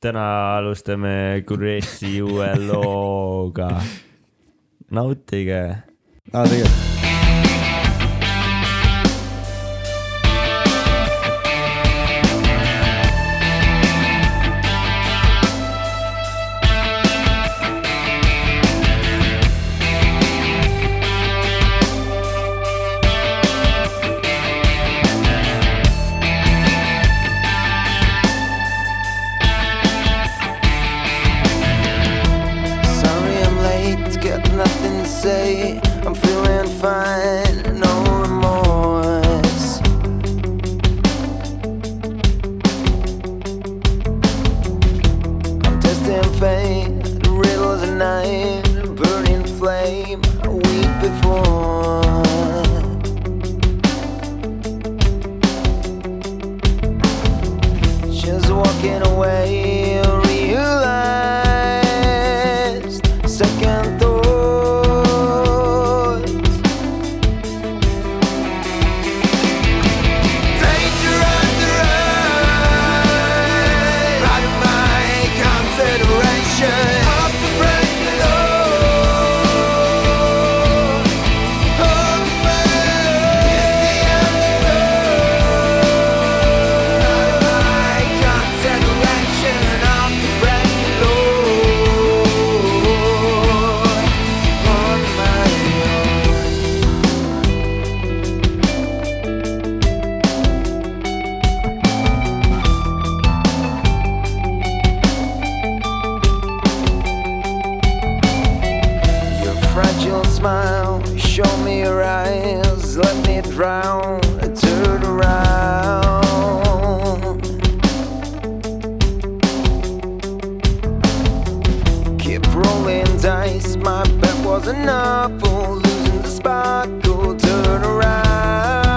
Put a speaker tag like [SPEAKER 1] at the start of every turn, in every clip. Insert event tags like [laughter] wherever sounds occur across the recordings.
[SPEAKER 1] täna alustame Kuressi [laughs] uue looga . nautige .
[SPEAKER 2] aa , tegelikult .
[SPEAKER 3] Sorry I'm late, got nothing to say. I'm feeling fine, no remorse. I'm testing fate, the riddle of the night, burning flame, a week before. Just walking away, realized second thoughts. Danger on the road, out of my consideration. Up to break the law, all the way. In the Your fragile smile, show me your eyes, let me drown, turn around. Keep rolling dice, my bet was an apple, losing the sparkle, turn around.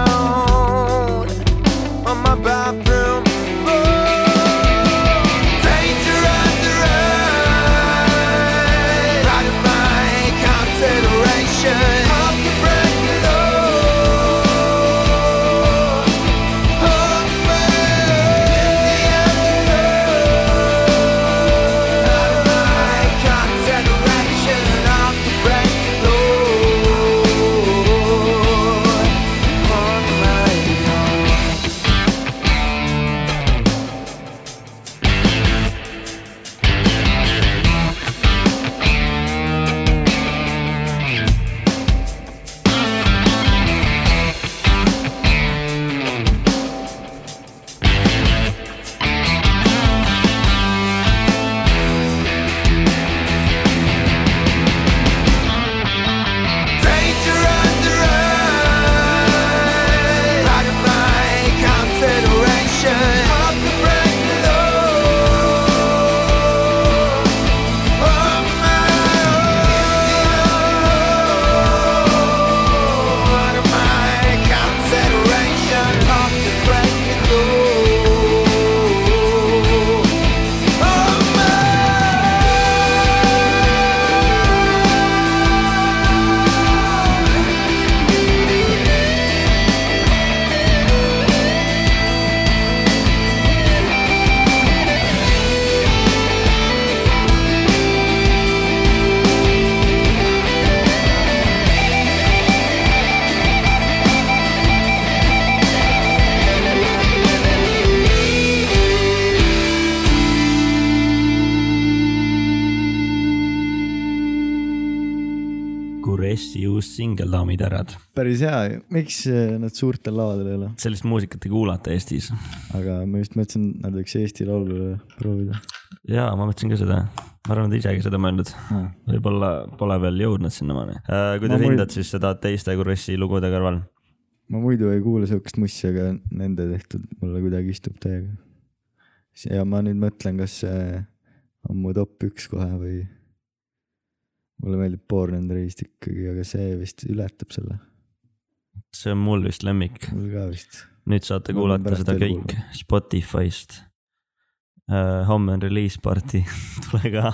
[SPEAKER 3] On my bathroom floor. Danger on the road, out of my consideration. Up to break the law. Up out of my consideration. Up to break the law. On my own. Danger on the road, out of my consideration. Up to break the law, on my own. Out of my consideration. Up to break the law, on my own.
[SPEAKER 1] Kuressi uus singel , daamid ja härrad .
[SPEAKER 2] päris hea ju , miks eh, nad suurtel lavadel ei ole ?
[SPEAKER 1] sellist muusikat ei kuulata Eestis .
[SPEAKER 2] aga ma just mõtlesin , nad võiks Eesti Laulu proovida .
[SPEAKER 1] jaa , ma mõtlesin ka seda . ma arvan , et te ise ka seda mõelnud . võib-olla pole veel jõudnud sinnamaani .
[SPEAKER 2] Ma
[SPEAKER 1] kuidas
[SPEAKER 2] muid-
[SPEAKER 1] hindad siis seda teiste Kuressi lugude kõrval ?
[SPEAKER 2] ma muidu ei kuule siukest mussi , aga nende tehtud mulle kuidagi istub täiega . ja ma nüüd mõtlen , kas see on mu top üks kohe või . mulle meeldib Born and Raised ikkagi , aga see vist ületab selle ,
[SPEAKER 1] see on mul vist lemmik .
[SPEAKER 2] mul ka vist .
[SPEAKER 1] nüüd saate
[SPEAKER 2] Ma pean
[SPEAKER 1] kuulata
[SPEAKER 2] pärast
[SPEAKER 1] seda
[SPEAKER 2] veel
[SPEAKER 1] kõik Spotify'st . homme on release party , [laughs] tule
[SPEAKER 2] [laughs]
[SPEAKER 1] ka .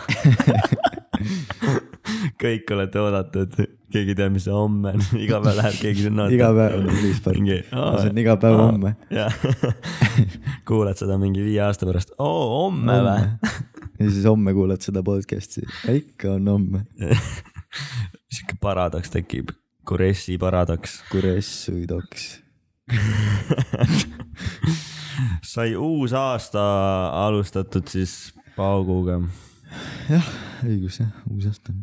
[SPEAKER 1] kõik olete oodatud , keegi ei tea , mis see homme on , [laughs] iga päev läheb , keegi sinna .
[SPEAKER 2] iga päev on release party . see on iga päev homme .
[SPEAKER 1] [laughs] jah , kuuled seda mingi viie aasta pärast , oo homme või ?
[SPEAKER 2] ja siis homme kuulad seda podcast'i , ikka on homme ,
[SPEAKER 1] sihuke paradoks tekib , Kuressi paradoks .
[SPEAKER 2] kuressuid oks .
[SPEAKER 1] sai uus aasta alustatud siis pauguga .
[SPEAKER 2] jah , õigus jah , uus aasta on .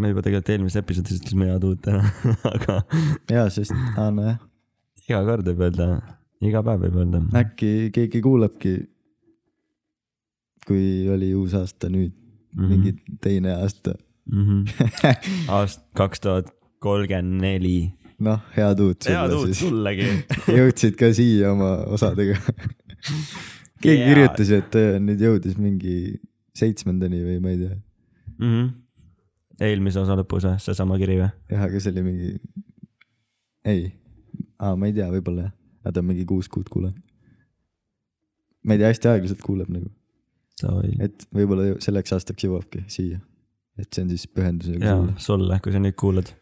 [SPEAKER 1] me juba tegelikult eelmises episoodis ütlesime head uut täna , [laughs] aga
[SPEAKER 2] jaa , sest , aa nojah ,
[SPEAKER 1] iga kord võib öelda , iga päev võib öelda .
[SPEAKER 2] äkki keegi kuulabki , kui oli uus aasta nüüd mm , -hmm. mingi teine aasta .
[SPEAKER 1] Mhm. [laughs] aast- kaks tuhat kolmkümmend neli .
[SPEAKER 2] noh , head uut
[SPEAKER 1] head
[SPEAKER 2] sulle
[SPEAKER 1] uut
[SPEAKER 2] siis .
[SPEAKER 1] sullegi .
[SPEAKER 2] [laughs] jõudsid ka siia oma osadega .
[SPEAKER 1] Jaa.
[SPEAKER 2] keegi yeah. kirjutas , et äh, nüüd jõudis mingi seitsmendani või ma ei tea .
[SPEAKER 1] Mhm. eelmise osa lõpus või , seesama kiri või ?
[SPEAKER 2] jah , aga see oli mingi , ei , aa , ma ei tea , võib-olla jah , aga ta on mingi kuus kuud kuuleb . ma ei tea , hästi aeglaselt kuuleb nagu , et võib-olla jõu- selleks aastaks jõuabki siia . et see on siis pühendusega
[SPEAKER 1] jaa
[SPEAKER 2] sulle ,.
[SPEAKER 1] sulle , kui sa nüüd kuulad .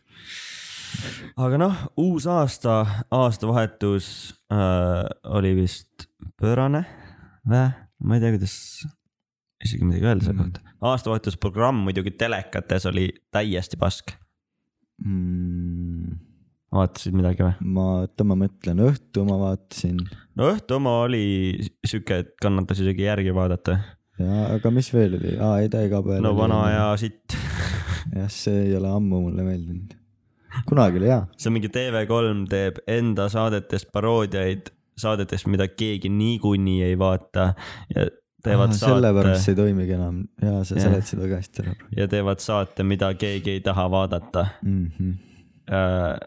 [SPEAKER 1] aga noh , uus aasta , aastavahetus äh, oli vist pöörane või ? ma ei tea , kuidas isegi midagi öelda selle
[SPEAKER 2] Mm.
[SPEAKER 1] kohta . aastavahetusprogramm muidugi telekates oli täiesti pask .
[SPEAKER 2] Mm,
[SPEAKER 1] vaatasid midagi või ?
[SPEAKER 2] ma , oota , ma mõtlen , õhtu ma vaatasin
[SPEAKER 1] no õhtu oma oli sihuke , et kannatas isegi järgi vaadata .
[SPEAKER 2] ja , aga mis veel oli , aa , ei ta iga päev .
[SPEAKER 1] no vana aja . sitt . [laughs]
[SPEAKER 2] jah , see ei ole ammu mulle meeldinud . kunagi oli hea ,
[SPEAKER 1] see on mingi TV3 teeb enda saadetest paroodiaid , saadetest , mida keegi niikuinii ei vaata ja teevad Aha, saate
[SPEAKER 2] sellepärast see ei toimigi enam ja sa
[SPEAKER 1] Jah.
[SPEAKER 2] seletasid väga hästi ära
[SPEAKER 1] ja teevad saate , mida keegi ei taha vaadata .
[SPEAKER 2] mm . -hmm.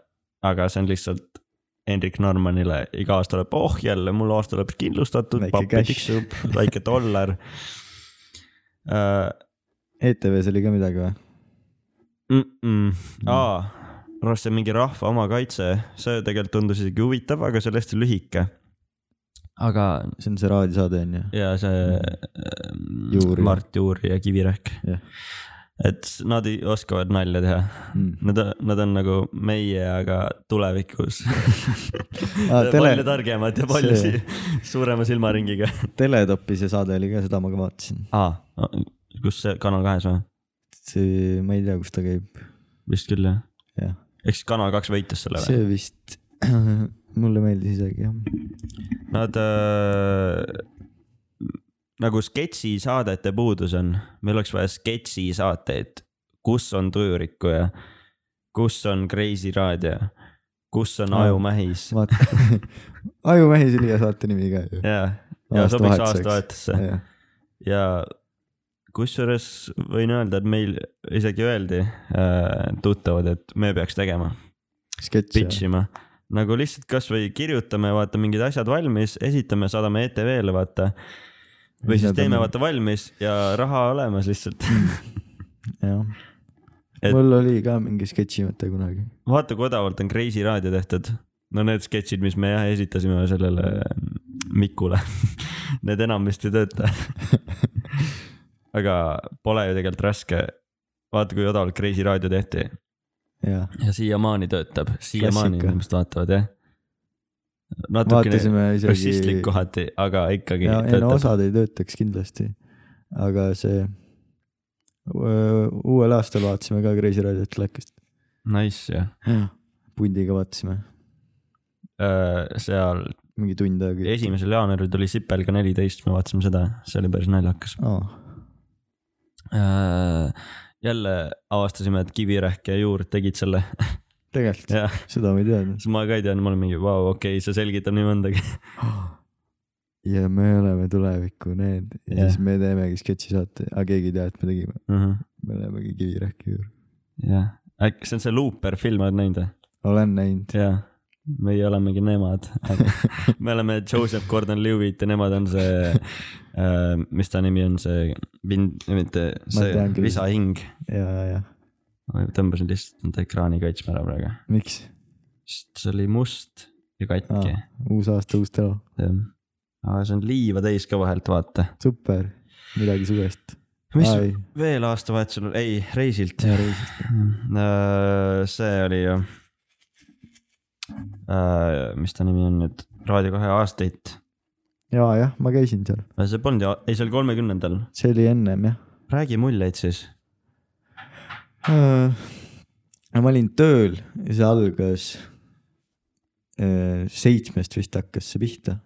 [SPEAKER 1] aga see on lihtsalt Hendrik Normanile iga aasta tuleb , oh jälle mul aasta lõpeb kindlustatud ,
[SPEAKER 2] Väike
[SPEAKER 1] pappi
[SPEAKER 2] cash.
[SPEAKER 1] tiksub , väike
[SPEAKER 2] [laughs]
[SPEAKER 1] dollar . Äh,
[SPEAKER 2] ETV-s E oli ka midagi või ?
[SPEAKER 1] mm . -mm. aa , minu arust see mingi rahva omakaitse , see tegelikult tundus isegi huvitav , aga see oli hästi lühike . aga
[SPEAKER 2] see on see raadiosaade on ju ?
[SPEAKER 1] ja see ähm,
[SPEAKER 2] Juuri.
[SPEAKER 1] Mart Juuri ja Kivirähk
[SPEAKER 2] Jah. ,
[SPEAKER 1] et s- nad ei- oskavad nalja teha .
[SPEAKER 2] Mhm.
[SPEAKER 1] Nad , nad on nagu meie , aga
[SPEAKER 2] [laughs]
[SPEAKER 1] tulevikus . [laughs]
[SPEAKER 2] Aa, Ah, tele-
[SPEAKER 1] palju targemad ja palju
[SPEAKER 2] see-
[SPEAKER 1] si [laughs] suurema silmaringiga .
[SPEAKER 2] teletopi see saade oli ka , seda ma ka vaatasin .
[SPEAKER 1] aa , kus see Kanal kahes või ?
[SPEAKER 2] see , ma ei tea , kus ta käib ,
[SPEAKER 1] vist küll jah .
[SPEAKER 2] jah .
[SPEAKER 1] ehk siis Kanal kaks võitis selle või ?
[SPEAKER 2] see vist [clears throat] mulle meeldis isegi jah .
[SPEAKER 1] Nad äh, nagu sketšisaadete puudus on , meil oleks vaja sketšisaateid , kus on tujurikkuja , kus on Kreisi raadio , kus on
[SPEAKER 2] Aa.
[SPEAKER 1] Ajumähis
[SPEAKER 2] vaata , [laughs] Ajumehis oli hea saate nimi ka ju .
[SPEAKER 1] ja , ja sobiks aastavahetusse
[SPEAKER 2] jah ,
[SPEAKER 1] ja kusjuures võin öelda , et meil isegi öeldi äh, tuttavad , et me peaks tegema ,
[SPEAKER 2] sketš
[SPEAKER 1] pitch . ima nagu lihtsalt kasvõi kirjutame , vaata mingid asjad valmis , esitame , saadame ETV-le , vaata . või siis teeme vaata valmis ja raha olemas lihtsalt .
[SPEAKER 2] jah
[SPEAKER 1] Et-
[SPEAKER 2] et... . mul oli ka mingi sketšimõte kunagi .
[SPEAKER 1] [laughs] vaata , kui odavalt on Kreisi raadio tehtud . no need sketšid , mis me jah esitasime sellele mm, Mikule , [laughs] need enam vist ei [laughs] tööta . aga pole ju tegelikult raske . vaata , kui odavalt Kreisi raadio tehti
[SPEAKER 2] jah ,
[SPEAKER 1] ja siiamaani töötab , siiamaani
[SPEAKER 2] Klassika.
[SPEAKER 1] inimesed vaatavad jah . natukene
[SPEAKER 2] vaatasime
[SPEAKER 1] rassistlik
[SPEAKER 2] isegi .
[SPEAKER 1] kohati , aga ikkagi
[SPEAKER 2] ja , ei no
[SPEAKER 1] töötab .
[SPEAKER 2] osad ei töötaks kindlasti . aga see , uuel aastal vaatasime ka Kreisi raadiot telekast .
[SPEAKER 1] Nice jah ,
[SPEAKER 2] pundiga vaatasime ,
[SPEAKER 1] Äh, seal
[SPEAKER 2] mingi tund aega .
[SPEAKER 1] esimesel jaanuaril tuli Sipelga neliteist , me vaatasime seda , see oli päris naljakas .
[SPEAKER 2] Oh,
[SPEAKER 1] jälle avastasime , et Kivirähk ja Juur tegid selle
[SPEAKER 2] tegelikult
[SPEAKER 1] ja
[SPEAKER 2] seda ma ei teadnud .
[SPEAKER 1] siis ma ka ei teadnud , ma olin mingi vau , okei okay, , see selgitab nii mõndagi .
[SPEAKER 2] ja me oleme tuleviku need ja
[SPEAKER 1] Jah.
[SPEAKER 2] yeah. siis me teemegi sketšisaate , aga keegi ei tea , et me tegime ,
[SPEAKER 1] Mhm.
[SPEAKER 2] me olemegi Kivirähki juurde .
[SPEAKER 1] jah , äkki see on see Luuper film , oled näinud või ?
[SPEAKER 2] olen näinud ,
[SPEAKER 1] jaa , meie olemegi nemad . [laughs] me oleme Joseph Gordon-Lewitt ja nemad on see äh, , mis ta nimi on , see vind , mitte see
[SPEAKER 2] tean küll.
[SPEAKER 1] Lisa Hing .
[SPEAKER 2] ja , ja , ja
[SPEAKER 1] ma tõmbasin lihtsalt enda ekraani kaitsma ära praegu ,
[SPEAKER 2] miks ?
[SPEAKER 1] sest see oli must ja katki .
[SPEAKER 2] uus aasta , uus telo ,
[SPEAKER 1] aga see on liiva täis ka vahelt , vaata .
[SPEAKER 2] super , midagi suvest .
[SPEAKER 1] mis
[SPEAKER 2] Ai.
[SPEAKER 1] veel aastavahetusel , ei , reisilt . see oli ju . äh, mis ta nimi on nüüd , Raadio kahe aastaid Äh,
[SPEAKER 2] ja jah , ma käisin seal ,
[SPEAKER 1] see polnud ju , ei see oli kolmekümnendal .
[SPEAKER 2] see oli ennem jah .
[SPEAKER 1] räägi muljeid siis .
[SPEAKER 2] Äh, ma olin tööl ja see algas , seitsmest vist hakkas see pihta ,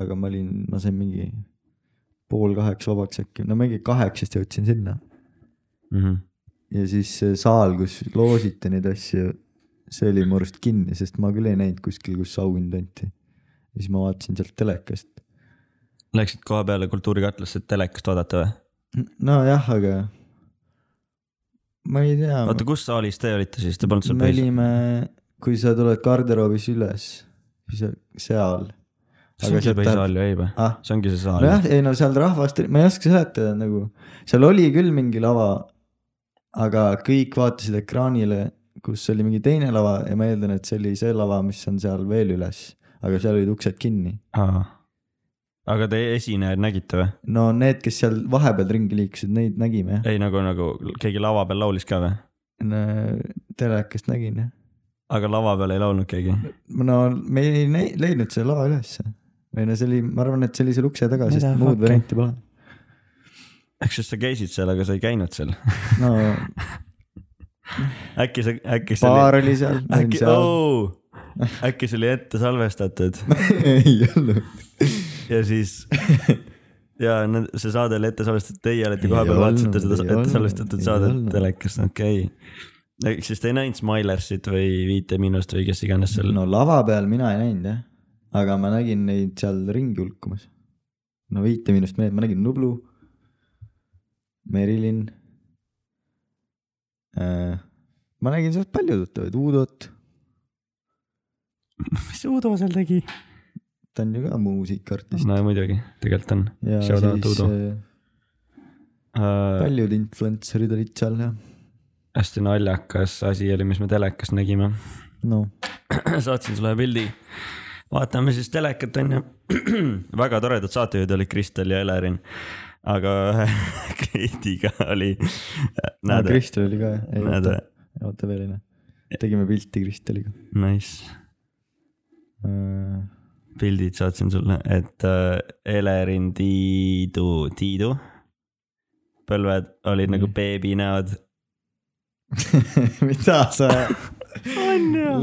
[SPEAKER 2] aga ma olin , ma sain mingi pool kaheksa vabaks äkki , no mingi kaheksast jõudsin sinna Mhm. ja siis see saal , kus loositi neid asju , see oli mu arust kinni , sest ma küll ei näinud kuskil , kus auhind anti . ja siis ma vaatasin sealt telekast .
[SPEAKER 1] Läksid koha peale Kultuurikatlasse telekast vaadata või ?
[SPEAKER 2] nojah , aga ma ei tea ,
[SPEAKER 1] oota , kus saalis te olite siis , te polnud seal
[SPEAKER 2] me
[SPEAKER 1] päris ?
[SPEAKER 2] olime , kui sa tuled garderoobis üles , siis seal .
[SPEAKER 1] see ongi põhisaal ju , ei või ?
[SPEAKER 2] ah ,
[SPEAKER 1] see ongi see saal .
[SPEAKER 2] nojah , ei no seal rahvast , ma ei oska seletada nagu , seal oli küll mingi lava , aga kõik vaatasid ekraanile , kus oli mingi teine lava ja ma eeldan , et see oli see lava , mis on seal veel üles , aga seal olid uksed kinni .
[SPEAKER 1] aga te esinejaid nägite või ?
[SPEAKER 2] no need , kes seal vahepeal ringi liikusid , neid nägime jah ,
[SPEAKER 1] ei nagu , nagu keegi lava peal laulis ka või ?
[SPEAKER 2] telekast nägin jah .
[SPEAKER 1] aga lava peal ei laulnud keegi ?
[SPEAKER 2] no me ei näi- leidnud selle lava ülesse või no see oli , ma arvan , et see oli seal ukse taga , sest
[SPEAKER 1] Mida
[SPEAKER 2] muud
[SPEAKER 1] fuck'i?
[SPEAKER 2] varianti pole .
[SPEAKER 1] ehk siis sa käisid seal , aga sa ei käinud seal .
[SPEAKER 2] no
[SPEAKER 1] äkki see , äkki see oli ,
[SPEAKER 2] baar oli seal , ma olin
[SPEAKER 1] äkki ,
[SPEAKER 2] seal .
[SPEAKER 1] oo , äkki see oli ette salvestatud
[SPEAKER 2] [laughs] ei olnud .
[SPEAKER 1] ja
[SPEAKER 2] [laughs]
[SPEAKER 1] siis ja need- see saade oli ette salvestatud , teie olete koha
[SPEAKER 2] Ei
[SPEAKER 1] peal , vaatasite
[SPEAKER 2] olnud,
[SPEAKER 1] seda
[SPEAKER 2] ei
[SPEAKER 1] ette
[SPEAKER 2] olnud,
[SPEAKER 1] salvestatud
[SPEAKER 2] ei
[SPEAKER 1] saadet
[SPEAKER 2] olnud.
[SPEAKER 1] telekast , okei okay. . ehk siis te ei näinud Smilersit või Viite Miinust või kes iganes seal no. ,
[SPEAKER 2] no lava peal mina ei näinud jah , aga ma nägin neid seal ringi hulkumas . no viite minust mehed , ma nägin Nublu , Merilin äh, . ma nägin sealt palju tuttavaid , Uudot ,
[SPEAKER 1] mis Uudo seal tegi ?
[SPEAKER 2] ta on ju ka muusikaartist
[SPEAKER 1] no muidugi , tegelikult on .
[SPEAKER 2] ja
[SPEAKER 1] shout out
[SPEAKER 2] siis
[SPEAKER 1] Uudo.
[SPEAKER 2] äh,
[SPEAKER 1] Äh,
[SPEAKER 2] paljud influencer'id olid seal ja
[SPEAKER 1] hästi naljakas asi oli , mis me telekast nägime .
[SPEAKER 2] no
[SPEAKER 1] [clears throat] saatsin sulle pildi . vaatame siis telekat onju . [clears throat] väga toredad saatejuhid olid Kristel ja Elerin . aga ühe [laughs] Kristiga oli ,
[SPEAKER 2] no, .
[SPEAKER 1] näed ,
[SPEAKER 2] Kristel oli ka jah ,
[SPEAKER 1] näed
[SPEAKER 2] oota , oota veel ei näe , tegime pilti Kristeliga
[SPEAKER 1] nice , [laughs]
[SPEAKER 2] äh, . [laughs]
[SPEAKER 1] pildid saatsin sulle , et äh, Elerin , Tiidu , Tiidu põlved olid nagu beebinäod .
[SPEAKER 2] mida sa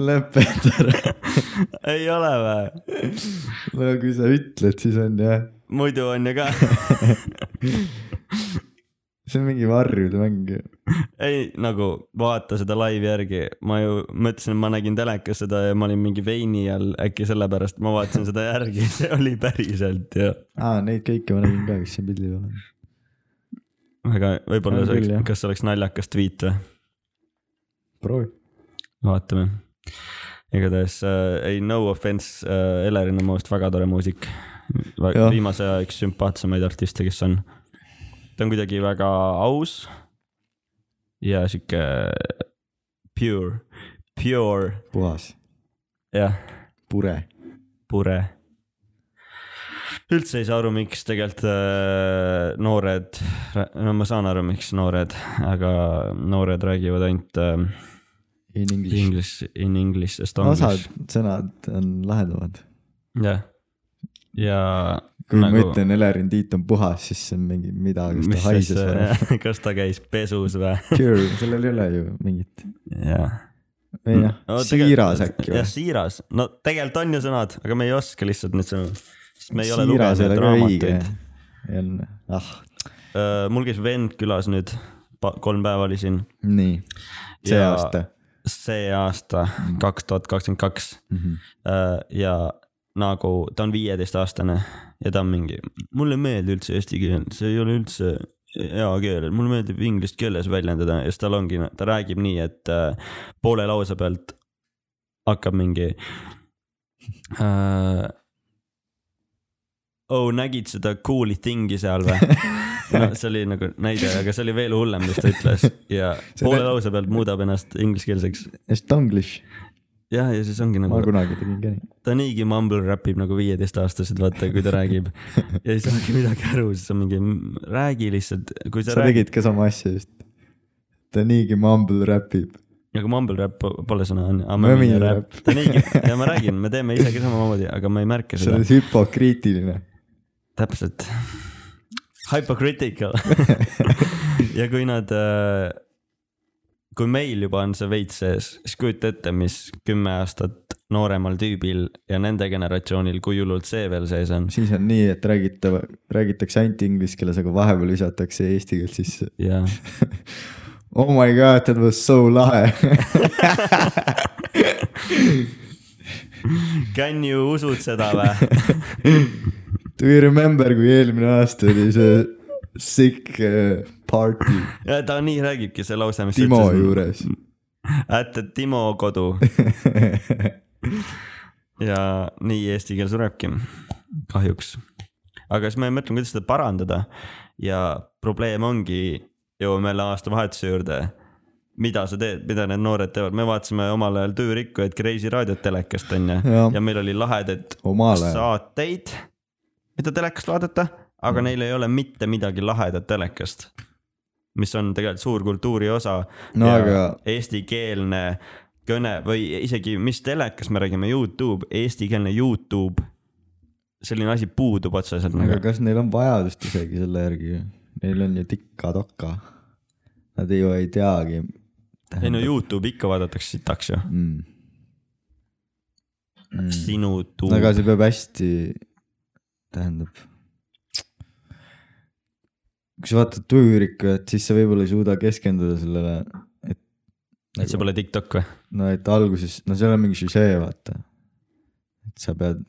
[SPEAKER 2] lõpeta ära .
[SPEAKER 1] [laughs] ei ole või ?
[SPEAKER 2] no kui sa ütled , siis on jah ,
[SPEAKER 1] muidu on ju ka . [laughs]
[SPEAKER 2] see on mingi varjude mäng ju .
[SPEAKER 1] ei nagu vaata seda laivi järgi , ma ju , ma ütlesin , et ma nägin telekas seda ja ma olin mingi veini all , äkki sellepärast ma vaatasin seda järgi , [laughs] see oli päriselt ja
[SPEAKER 2] aa , neid kõiki ma nägin ka , kes siin pildi peal on .
[SPEAKER 1] väga , võib-olla
[SPEAKER 2] On
[SPEAKER 1] see
[SPEAKER 2] küll, jah.
[SPEAKER 1] oleks , kas see oleks naljakas tweet või ,
[SPEAKER 2] proovi .
[SPEAKER 1] vaatame . igatahes äh, ei , no offense äh, , Elerin on mu arust väga tore muusik .
[SPEAKER 2] Jah.
[SPEAKER 1] viimase aja üks sümpaatsemaid artiste , kes on . ta on kuidagi väga aus ja sihuke pure , pure ,
[SPEAKER 2] puhas ,
[SPEAKER 1] jah
[SPEAKER 2] pure .
[SPEAKER 1] pure . üldse ei saa aru , miks tegelikult äh, noored , no ma saan aru , miks noored , aga noored räägivad ainult äh,
[SPEAKER 2] In english .
[SPEAKER 1] inglise , in english , estonglish
[SPEAKER 2] osad . sõnad on lahedamad .
[SPEAKER 1] jah . ja
[SPEAKER 2] kui nagu... ma . ütlen , Elerin Tiit on puhas , siis see on mingi mida , kas ta haises või ?
[SPEAKER 1] [laughs] kas ta käis pesus või ?
[SPEAKER 2] Pure , sellel ei ole ju mingit ,
[SPEAKER 1] jah .
[SPEAKER 2] või noh no, , siiras äkki
[SPEAKER 1] või ?
[SPEAKER 2] või
[SPEAKER 1] jah ,? siiras , no tegelikult on ju sõnad , aga me ei oska lihtsalt neid sõnu , sest me ei ole
[SPEAKER 2] siiras ei
[SPEAKER 1] lugenud
[SPEAKER 2] ole ka õige
[SPEAKER 1] raamatuid ..
[SPEAKER 2] jälle , ah ,
[SPEAKER 1] mul käis vend külas nüüd , kolm päeva oli siin
[SPEAKER 2] nii , see
[SPEAKER 1] Ja-
[SPEAKER 2] ja... aasta
[SPEAKER 1] see aasta , kaks tuhat kakskümmend kaks äh,
[SPEAKER 2] mm . -hmm.
[SPEAKER 1] ja nagu ta on viieteistaastane ja ta on mingi , mulle ei meeldi üldse eesti keel , see ei ole üldse hea keel , mulle meeldib inglise keeles väljendada ja siis tal ongi , ta räägib nii , et äh, poole lause pealt hakkab mingi äh, . oh , nägid seda cool'i thing'i seal või ? no see oli nagu näide , aga see oli veel hullem , mis ta ütles ja
[SPEAKER 2] See
[SPEAKER 1] poole
[SPEAKER 2] näit-
[SPEAKER 1] lause pealt muudab ennast ingliskeelseks
[SPEAKER 2] Estonglish ,
[SPEAKER 1] jah , ja siis ongi
[SPEAKER 2] ma
[SPEAKER 1] nagu ,
[SPEAKER 2] kunagi tegin ka nii .
[SPEAKER 1] ta niigi mumble räpib nagu viieteistaastaselt , vaata , kui ta räägib . ja ei saagi midagi aru , siis on mingi , räägi lihtsalt , kui sa,
[SPEAKER 2] sa
[SPEAKER 1] sa räägid ,
[SPEAKER 2] tegid ka sama asja vist . ta niigi mumble räpib .
[SPEAKER 1] aga nagu mumble rap pole sõna , on ju ,
[SPEAKER 2] Mömine
[SPEAKER 1] mömine räpp
[SPEAKER 2] räpp. .
[SPEAKER 1] ta niigi , ja ma räägin , me teeme ise ka samamoodi , aga ma ei märka
[SPEAKER 2] see
[SPEAKER 1] seda
[SPEAKER 2] on . hüpokriitiline .
[SPEAKER 1] täpselt .
[SPEAKER 2] [laughs]
[SPEAKER 1] Hypocritical ja kui nad , kui meil juba on see veits sees , siis kujuta ette , mis kümme aastat nooremal tüübil ja nende generatsioonil , kui hullult see veel sees on .
[SPEAKER 2] siis on nii , et räägitav , räägitakse ainult inglise keeles , aga vahepeal visatakse eesti keelt sisse .
[SPEAKER 1] jaa ,
[SPEAKER 2] Oh my god , that was so lahe . [laughs]
[SPEAKER 1] can you usud seda
[SPEAKER 2] [laughs]
[SPEAKER 1] või ?
[SPEAKER 2] Do you remember , kui eelmine aasta oli see sick eh, party
[SPEAKER 1] ja ta nii räägibki see lause , mis
[SPEAKER 2] Timo . juures ?
[SPEAKER 1] At Timo
[SPEAKER 2] [laughs]
[SPEAKER 1] kodu ja nii eesti keel surebki , kahjuks . aga siis ma jäin mõtlema , kuidas seda parandada ja probleem ongi , jõuame jälle aastavahetuse juurde . mida sa teed , mida need noored teevad , me vaatasime omal ajal Tüürikkujaid Kreisi raadiot telekast onju ja.
[SPEAKER 2] Jah.
[SPEAKER 1] ja meil oli lahedaid
[SPEAKER 2] omal ajal ,
[SPEAKER 1] saateid , mida telekast vaadata ,
[SPEAKER 2] Mm.
[SPEAKER 1] aga neil ei ole mitte midagi lahedat telekast mis on tegelikult suur kultuuri osa
[SPEAKER 2] no
[SPEAKER 1] ja
[SPEAKER 2] aga
[SPEAKER 1] eestikeelne kõne või isegi , mis telekas me räägime , Youtube , eestikeelne Youtube . selline asi puudub otseselt
[SPEAKER 2] aga
[SPEAKER 1] nagu .
[SPEAKER 2] kas neil on vajadust isegi selle järgi ? Neil on ju tikka-tokka . Nad ju ei teagi .
[SPEAKER 1] ei no Youtube ikka vaadatakse sitaks ju .
[SPEAKER 2] mm. .
[SPEAKER 1] sinu tuum
[SPEAKER 2] aga see Mm. peab hästi , tähendab . kui sa vaatad tujurikkat , siis sa võib-olla ei suuda keskenduda sellele , et
[SPEAKER 1] et see pole TikTok või ?
[SPEAKER 2] no et alguses , no seal on mingi süžee , vaata . et sa pead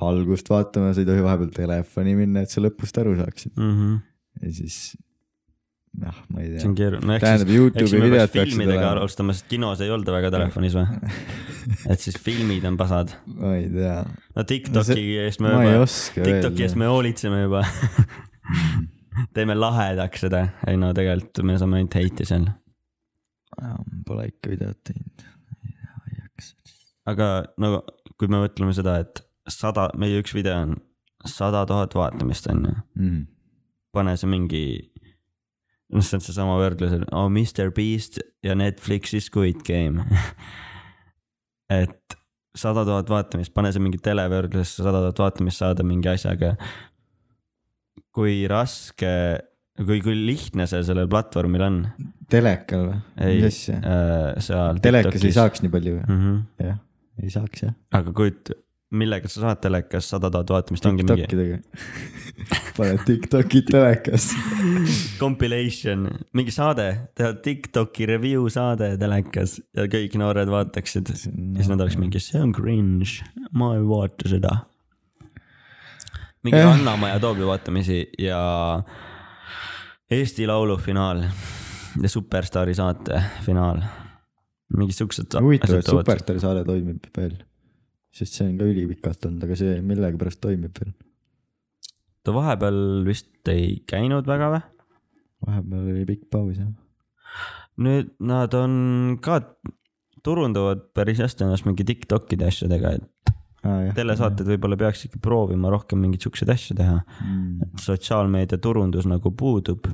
[SPEAKER 2] algust vaatama , sa ei tohi vahepeal telefoni minna , et sa lõpust aru saaksid ja siis jah , ma ei
[SPEAKER 1] Mhm. see
[SPEAKER 2] tea
[SPEAKER 1] on . keeruline .
[SPEAKER 2] tähendab , Youtube'i videod peaksid
[SPEAKER 1] filmidega
[SPEAKER 2] olema ,
[SPEAKER 1] alustama , sest kinos ei olda väga telefonis
[SPEAKER 2] [laughs]
[SPEAKER 1] või ? et siis filmid on pasad .
[SPEAKER 2] ma ei tea ,
[SPEAKER 1] no TikToki eest me
[SPEAKER 2] ma ei
[SPEAKER 1] juba ,
[SPEAKER 2] oska
[SPEAKER 1] TikToki eest
[SPEAKER 2] veel .
[SPEAKER 1] me hoolitseme
[SPEAKER 2] [laughs]
[SPEAKER 1] juba . teeme lahedaks seda . ei no tegelikult me saame ainult heiti seal
[SPEAKER 2] Pole ikka videot teinud , ei jaksa .
[SPEAKER 1] aga no kui me mõtleme seda , et sada , meie üks video on sada tuhat vaatamist on ju ,
[SPEAKER 2] Mm.
[SPEAKER 1] pane see mingi . noh , see on seesama võrdlus , et oh Mr Beast ja Netflixi Squid Game . [laughs] et sada tuhat vaatamist , pane see mingi televõrdlusesse , sada tuhat vaatamist saada mingi asjaga . kui raske , kui , kui lihtne see sellel platvormil on
[SPEAKER 2] telekal või ?
[SPEAKER 1] Ei.
[SPEAKER 2] mis asja ?
[SPEAKER 1] äh, seal .
[SPEAKER 2] telekas ei . saaks nii palju ,
[SPEAKER 1] Mm -hmm.
[SPEAKER 2] jah , ei saaks jah .
[SPEAKER 1] aga kujut- , millega sa saad telekas sada tuhat vaatamist , ongi mingi
[SPEAKER 2] Tiktokidega . [laughs] paned Tiktoki
[SPEAKER 1] [laughs]
[SPEAKER 2] telekas .
[SPEAKER 1] compilation , mingi saade , teha Tiktoki review saade telekas ja kõik noored vaataksid . ja siis nad oleks mingi , see on cringe , ma ei vaata seda . mingi
[SPEAKER 2] Eh.
[SPEAKER 1] Rannamaja Toobli vaatamisi ja Eesti Laulu finaal ja Superstaari saate finaal . mingid siuksed .
[SPEAKER 2] [laughs] huvitav , et Superstaari saade toimib veel . sest see on ka ülipikalt olnud , aga see millegipärast toimib veel .
[SPEAKER 1] ta vahepeal vist ei käinud väga või ?
[SPEAKER 2] vahepeal oli pikk paus jah .
[SPEAKER 1] nüüd nad on ka , turundavad päris hästi ennast mingi Tiktokide asjadega , et
[SPEAKER 2] Ah, jah.
[SPEAKER 1] telesaated võib-olla peaks ikka proovima rohkem mingeid siukseid asju teha .
[SPEAKER 2] mm. .
[SPEAKER 1] sotsiaalmeedia turundus nagu puudub .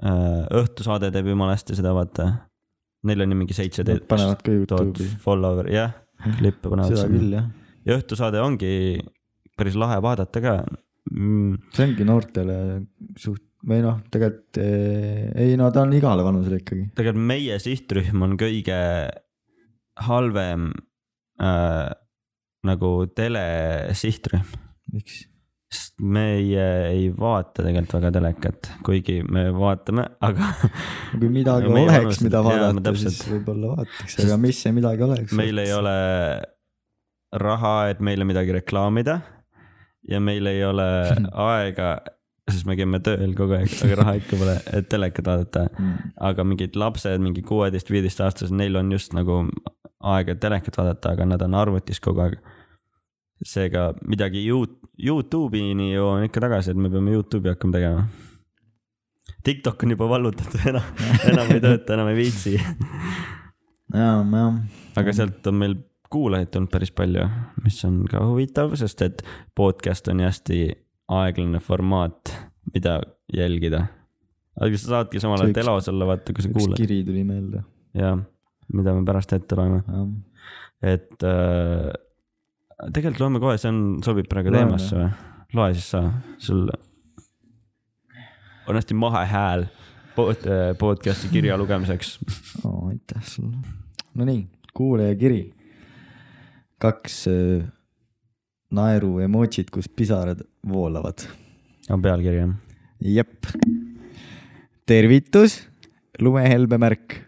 [SPEAKER 1] õhtusaade teeb jumala hästi seda , vaata . Neil on ju mingi seitse
[SPEAKER 2] Nad panevad ka
[SPEAKER 1] tuhat
[SPEAKER 2] Youtube'i ,
[SPEAKER 1] follower , jah , klippe panevad
[SPEAKER 2] seda
[SPEAKER 1] sinna .
[SPEAKER 2] küll jah .
[SPEAKER 1] ja õhtusaade ongi päris lahe vaadata ka mm, .
[SPEAKER 2] see ongi noortele suht- , või noh , tegelikult eh, ei no ta on igale vanusele ikkagi .
[SPEAKER 1] tegelikult meie sihtrühm on kõige halvem äh, nagu telesihtrühm ,
[SPEAKER 2] miks ?
[SPEAKER 1] sest meie ei vaata tegelikult väga telekat , kuigi me vaatame , aga [laughs]
[SPEAKER 2] kui midagi
[SPEAKER 1] Meie
[SPEAKER 2] oleks ,
[SPEAKER 1] vanused-
[SPEAKER 2] mida
[SPEAKER 1] jaa, ma
[SPEAKER 2] vaadata ,
[SPEAKER 1] täpselt-
[SPEAKER 2] siis võib-olla vaataks , aga mis see midagi oleks ?
[SPEAKER 1] meil ei ole raha , et meile midagi reklaamida ja meil ei ole aega , sest me käime tööl kogu aeg , aga raha ikka pole , et telekat vaadata .
[SPEAKER 2] mm. .
[SPEAKER 1] aga mingid lapsed , mingi kuueteist , viieteist aastased , neil on just nagu aega telekat vaadata , aga nad on arvutis kogu aeg . seega midagi Yout- , Youtube'ini jõuame ikka tagasi , et me peame Youtube'i hakkama tegema . TikTok on juba vallutatud , [laughs] enam , enam ei tööta , enam ei viitsi ,
[SPEAKER 2] jaa , jah .
[SPEAKER 1] aga sealt on meil kuulajaid tulnud päris palju , mis on ka huvitav , sest et podcast on ju hästi aeglane formaat , mida jälgida . aga sa saadki samal
[SPEAKER 2] See
[SPEAKER 1] ajal
[SPEAKER 2] üks-
[SPEAKER 1] telos olla , vaata , kui sa
[SPEAKER 2] üks
[SPEAKER 1] kuulad .
[SPEAKER 2] kiri tuli meelde ,
[SPEAKER 1] jah , mida me pärast ette loeme ,
[SPEAKER 2] jah .
[SPEAKER 1] et äh, tegelikult loeme kohe , see on , sobib praegu
[SPEAKER 2] Loeme.
[SPEAKER 1] teemasse või ? loe siis sa , sul on hästi mahe hääl pod, äh, podcast'i kirja lugemiseks .
[SPEAKER 2] oh, . aitäh sulle . Nonii , kuulajakiri . kaks äh, naeru emotsit , kus pisarad voolavad .
[SPEAKER 1] on pealkiri jah ?
[SPEAKER 2] jep . tervitus , lumehelbe märk .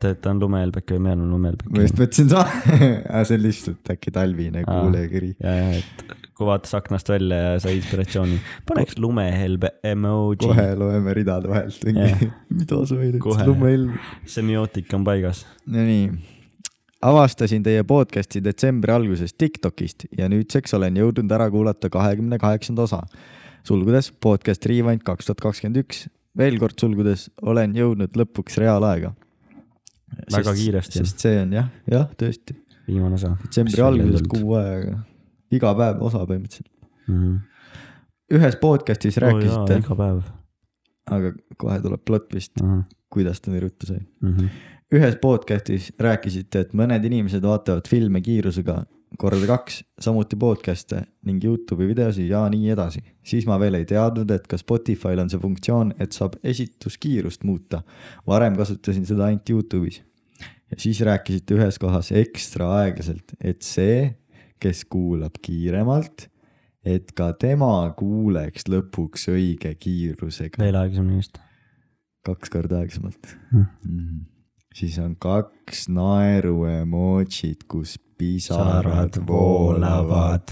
[SPEAKER 1] tead , ta on lumehelbeke või meil on
[SPEAKER 2] ma just
[SPEAKER 1] lumehelbeke .
[SPEAKER 2] mõtlesin sa , [laughs] aga see on lihtsalt äkki talvine
[SPEAKER 1] Aa.
[SPEAKER 2] kuulajakiri .
[SPEAKER 1] ja , ja , et kui vaatas aknast välja ja sai inspiratsiooni , paneks lumehelbe
[SPEAKER 2] kohe
[SPEAKER 1] emoji .
[SPEAKER 2] loeme ridade vahelt
[SPEAKER 1] Jah.
[SPEAKER 2] mingi , [laughs] mida sa väidad ,
[SPEAKER 1] Kohe.
[SPEAKER 2] lumehelm .
[SPEAKER 1] semiootik on paigas .
[SPEAKER 2] Nonii , avastasin teie podcast'i detsembri alguses Tiktokist ja nüüdseks olen jõudnud ära kuulata kahekümne kaheksanda osa . sulgudes podcast Rewind kaks tuhat kakskümmend üks , veel kord sulgudes olen jõudnud lõpuks reaalaega .
[SPEAKER 1] Väga kiiresti.
[SPEAKER 2] sest see on jah , jah , tõesti ,
[SPEAKER 1] viimane osa .
[SPEAKER 2] detsembri alguses . kuu aega , iga päev osa põhimõtteliselt . ühes podcast'is rääkisite ,
[SPEAKER 1] iga päev .
[SPEAKER 2] aga kohe tuleb plott vist , kuidas ta nii ruttu sai . ühes podcast'is rääkisite , et mõned inimesed vaatavad filme kiirusega korda kaks , samuti podcast'e ning Youtube'i videosi ja nii edasi . siis ma veel ei teadnud , et ka Spotify'l on see funktsioon , et saab esituskiirust muuta . varem kasutasin seda ainult Youtube'is . ja siis rääkisite ühes kohas ekstra aeglaselt , et see , kes kuulab kiiremalt , et ka tema kuuleks lõpuks õige kiirusega .
[SPEAKER 1] veel aeglasemini vist .
[SPEAKER 2] kaks korda aeglasemalt
[SPEAKER 1] Mm.
[SPEAKER 2] mm. . siis on kaks naeru emotsit , kus pisarad voolavad .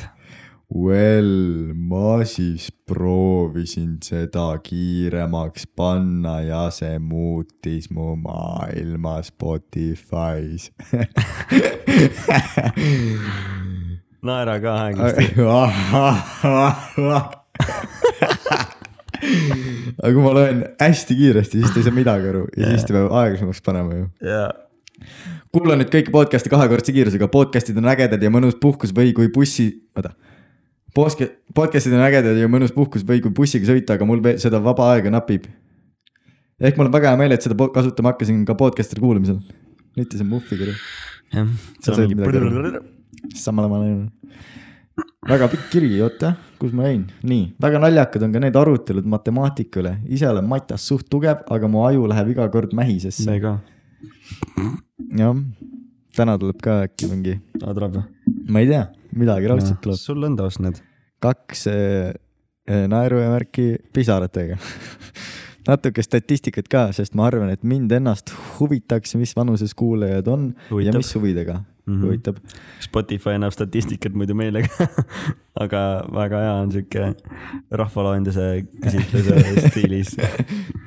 [SPEAKER 2] Well , ma siis proovisin seda kiiremaks panna ja see muutis mu maailma [laughs] Spotify's .
[SPEAKER 1] naera ka aeglaselt .
[SPEAKER 2] aga kui ma loen hästi kiiresti , siis ta ei saa midagi aru ja siis ta peab aeglasemaks panema ju .
[SPEAKER 1] jaa .
[SPEAKER 2] kuula nüüd kõiki podcast'e kahekordse kiirusega , podcast'id on ägedad ja mõnus puhkus või kui bussi , oota . Poske- , podcast'id on ägedad ja mõnus puhkus või kui bussiga sõita , aga mul veel seda vaba aega napib . ehk mul on väga hea meel , et seda po- kasutama hakkasin ka podcast'ide kuulamisel . nüüd see on muffi kiri ,
[SPEAKER 1] jah .
[SPEAKER 2] Sa said midagi aru. samal ajal on . väga pikk kiri , oota , kus ma jäin , nii , väga naljakad on ka need arutelud matemaatika üle , ise olen matas suht tugev , aga mu aju läheb iga kord mähisesse ,
[SPEAKER 1] see ka .
[SPEAKER 2] jah . täna tuleb ka äkki mingi ,
[SPEAKER 1] tahad rabba ?
[SPEAKER 2] ma ei tea , midagi raudselt tuleb .
[SPEAKER 1] sul on taas need .
[SPEAKER 2] kaks äh, äh, naeruvärki pisaratega . [laughs] natuke statistikat ka , sest ma arvan , et mind ennast huvitaks , mis vanuses kuulajad on huvitab.
[SPEAKER 1] Huvitab.
[SPEAKER 2] ja mis huvidega mm -hmm. huvitab .
[SPEAKER 1] Spotify annab statistikat muidu meile ka . aga väga hea on sihuke rahvaloenduse küsitluse stiilis .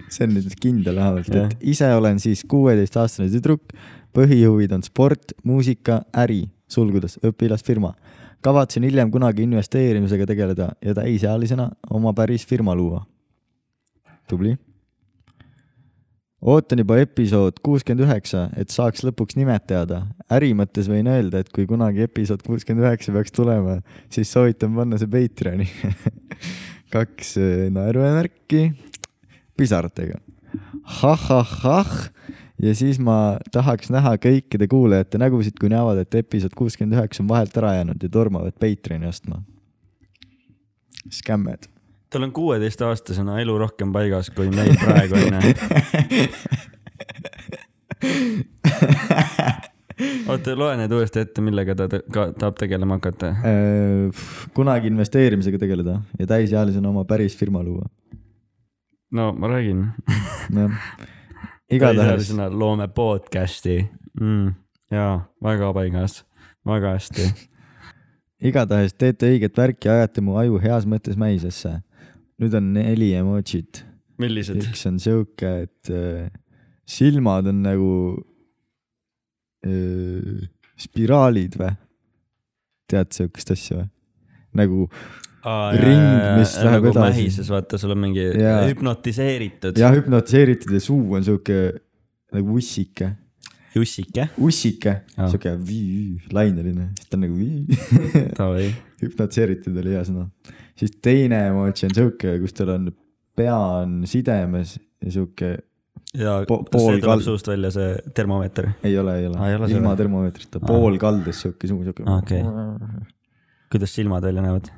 [SPEAKER 2] see on nüüd kindel vähemalt ,
[SPEAKER 1] Jah.
[SPEAKER 2] et ise olen siis kuueteistaastane tüdruk , põhihuvid on sport , muusika , äri , sulgudes õpilasfirma . kavatsen hiljem kunagi investeerimisega tegeleda ja täisealisena oma päris firma luua . tubli . ootan juba episood kuuskümmend üheksa , et saaks lõpuks nimed teada . äri mõttes võin öelda , et kui kunagi episood kuuskümmend üheksa peaks tulema , siis soovitan panna see Patreoni . [laughs] kaks eh, naeruvärki pisaratega . ahahah ja siis ma tahaks näha kõikide kuulajate nägusid , kui näevad , et episood kuuskümmend üheksa on vahelt ära jäänud ja tormavad Patreoni ostma . skämmed .
[SPEAKER 1] tal on kuueteistaastasena elu rohkem paigas kui meil praegu onju . oota , loe need uuesti ette , millega ta ta- ka tahab tegelema hakata .
[SPEAKER 2] Äh, kunagi investeerimisega tegeleda ja täisealisena oma päris firma luua .
[SPEAKER 1] no ma räägin .
[SPEAKER 2] jah , igatahes
[SPEAKER 1] täisealisena loome podcast'i mm, . jaa , väga paigas , väga hästi .
[SPEAKER 2] igatahes teete õiget värki ja ajate mu aju heas mõttes mäisesse . nüüd on neli emotsit .
[SPEAKER 1] millised ?
[SPEAKER 2] üks on sihuke , et äh, silmad on nagu äh, spiraalid või ? tead sihukest asja või ? nagu
[SPEAKER 1] Aa,
[SPEAKER 2] ring, mis läheb
[SPEAKER 1] nagu
[SPEAKER 2] edasi.
[SPEAKER 1] mähises , vaata , sul on mingi
[SPEAKER 2] Jaa.
[SPEAKER 1] hüpnotiseeritud
[SPEAKER 2] jah , hüpnotiseeritud ja suu on sihuke nagu ussike ,
[SPEAKER 1] jussike .
[SPEAKER 2] ussike ,
[SPEAKER 1] Aa.
[SPEAKER 2] sihuke vii- laineline , siis ta on nagu vii- [laughs]
[SPEAKER 1] Davai ,
[SPEAKER 2] hüpnotiseeritud oli hea sõna . siis teine emotsi on sihuke , kus tal on pea on sidemes ja sihuke ,
[SPEAKER 1] ja
[SPEAKER 2] Po-
[SPEAKER 1] see
[SPEAKER 2] pool
[SPEAKER 1] tuleb
[SPEAKER 2] kal-
[SPEAKER 1] suust välja , see termomeeter .
[SPEAKER 2] ei ole , ei
[SPEAKER 1] Aa, Ah, ei ole Ah.
[SPEAKER 2] ole ,
[SPEAKER 1] see
[SPEAKER 2] ilma
[SPEAKER 1] või?
[SPEAKER 2] termomeetrita ,
[SPEAKER 1] Aa.
[SPEAKER 2] [laughs] pool kaldes sihuke , sihuke .
[SPEAKER 1] Aa, okei. kuidas silmad välja näevad ?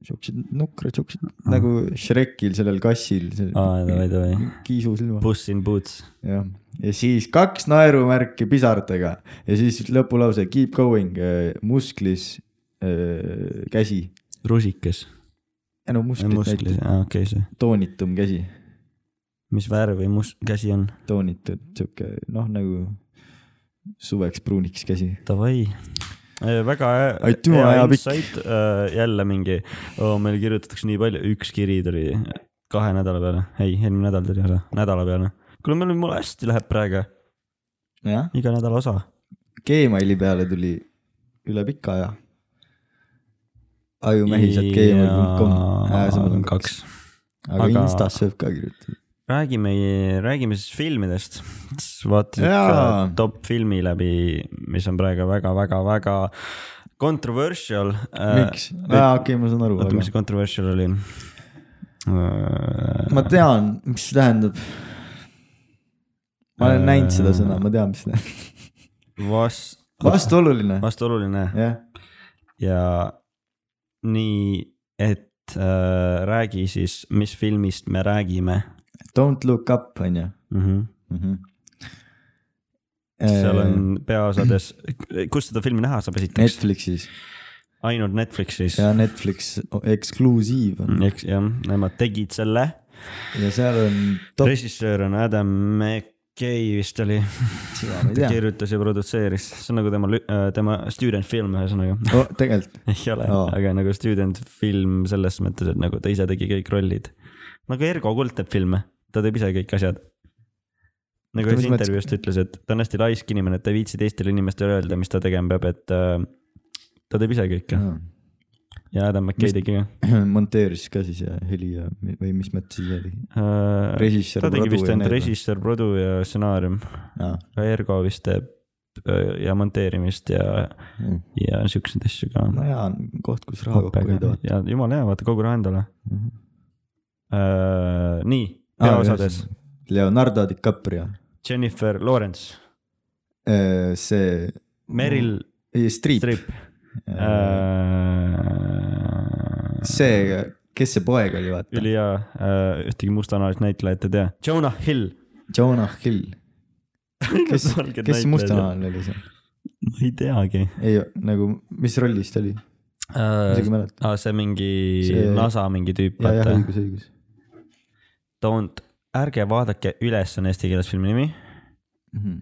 [SPEAKER 2] siuksed nukrad , siuksed nagu Shrekil sellel kassil ,
[SPEAKER 1] Ah. aa , davai ,
[SPEAKER 2] seal
[SPEAKER 1] davai .
[SPEAKER 2] kiisu silma .
[SPEAKER 1] Puss in boots .
[SPEAKER 2] jah , ja siis kaks naerumärki pisartega ja siis lõpulause keep going , musklis äh, käsi .
[SPEAKER 1] rusikas .
[SPEAKER 2] ei no musklis
[SPEAKER 1] musklis ,
[SPEAKER 2] näitab ,
[SPEAKER 1] aa okei okay, see .
[SPEAKER 2] toonitum käsi ,
[SPEAKER 1] mis värvi must , käsi on ?
[SPEAKER 2] toonitud sihuke noh , nagu suveks pruuniks käsi .
[SPEAKER 1] Davai . väga hea-
[SPEAKER 2] Aitüma,
[SPEAKER 1] hea
[SPEAKER 2] hea pikk.
[SPEAKER 1] insight. Äh, jälle mingi oh, , meil kirjutatakse nii palju , üks kiri tuli kahe nädala peale , ei , eelmine nädal tuli ära , nädala peale . kuule , meil , mul hästi läheb praegu ,
[SPEAKER 2] jah ,
[SPEAKER 1] iga nädala osa .
[SPEAKER 2] Gmaili peale tuli üle pika aja . ajumehised gmail.com .
[SPEAKER 1] kaks .
[SPEAKER 2] aga
[SPEAKER 1] aga-
[SPEAKER 2] Instas võib ka kirjutada .
[SPEAKER 1] räägime , räägime siis filmidest . vaatasid
[SPEAKER 2] Jaa.
[SPEAKER 1] ka top filmi läbi , mis on praegu väga-väga-väga controversial .
[SPEAKER 2] miks ? aa , okei , ma saan aru ,
[SPEAKER 1] Äh, oota ,
[SPEAKER 2] aga
[SPEAKER 1] mis see controversial oli ? Äh,
[SPEAKER 2] ma tean , mis see tähendab . ma olen näinud seda sõna , ma tean , mis see tähendab .
[SPEAKER 1] Vas- ,
[SPEAKER 2] vastuoluline ,
[SPEAKER 1] vastuoluline
[SPEAKER 2] jah .
[SPEAKER 1] ja nii , et äh, räägi siis , mis filmist me räägime
[SPEAKER 2] Don't look up , Mhm. on ju .
[SPEAKER 1] mm . -hmm. seal
[SPEAKER 2] Äh,
[SPEAKER 1] on peaosades , kus seda filmi näha saab esiteks ?
[SPEAKER 2] Netflixis
[SPEAKER 1] ainult Netflixis .
[SPEAKER 2] ja Netflix eksklusiiv on
[SPEAKER 1] eks jah , nemad tegid selle .
[SPEAKER 2] ja seal on top ,
[SPEAKER 1] režissöör on Adam McKay vist oli ,
[SPEAKER 2] ma ei
[SPEAKER 1] ta
[SPEAKER 2] tea.
[SPEAKER 1] kirjutas ja produtseeris , see on nagu tema , tema student film ühesõnaga
[SPEAKER 2] oh, tegelikult
[SPEAKER 1] [laughs] ei ole no.
[SPEAKER 2] Aa. ,
[SPEAKER 1] aga nagu student film selles mõttes , et nagu ta ise tegi kõik rollid . nagu Ergo Kult teeb filme , ta teeb ise kõik asjad . nagu
[SPEAKER 2] Oota,
[SPEAKER 1] ühes
[SPEAKER 2] mis mõttes-
[SPEAKER 1] intervjuus ta ütles , et ta on hästi laisk inimene , et ta ei viitsi teistele inimestele öelda , mis ta tegema peab , et äh, ta teeb ise kõike
[SPEAKER 2] Aa.
[SPEAKER 1] ja Adam
[SPEAKER 2] Mis-
[SPEAKER 1] McKay tegi ka .
[SPEAKER 2] [clears throat] monteeris ka siis ja heli ja või mis mõttes siis oli ? režissöör .
[SPEAKER 1] Äh, ta tegi vist ainult . režissöör , produ ja stsenaarium , aga Ergo vist teeb äh, ja monteerimist ja , ja siukseid asju ka .
[SPEAKER 2] Mm. no jaa , koht , kus raha kokku Mhm. ei too .
[SPEAKER 1] ja jumala hea , vaata kogu raha endale Äh, nii , peaosades .
[SPEAKER 2] Leonardo DiCaprio ,
[SPEAKER 1] Jennifer Lawrence ,
[SPEAKER 2] see .
[SPEAKER 1] Meryl
[SPEAKER 2] Mm. Streep .
[SPEAKER 1] Streep .
[SPEAKER 2] Äh.
[SPEAKER 1] Äh, see .
[SPEAKER 2] see , kes see poeg oli , vaata .
[SPEAKER 1] Äh, ülihea , ühtegi mustanahalist näitlejat ei tea . Jonah Hill .
[SPEAKER 2] Jonah
[SPEAKER 1] [laughs]
[SPEAKER 2] Hill . kes , kes see mustanahaline oli seal ?
[SPEAKER 1] ma ei teagi .
[SPEAKER 2] ei , nagu , mis rollis ta oli ? ma isegi ei mäleta .
[SPEAKER 1] Äh, aa , see mingi see...
[SPEAKER 2] See-
[SPEAKER 1] NASA mingi tüüp ,
[SPEAKER 2] jah , jah ,
[SPEAKER 1] vaata .
[SPEAKER 2] õigus , õigus .
[SPEAKER 1] Don't , ärge vaadake üles , on eesti keeles filmi nimi
[SPEAKER 2] Mhm.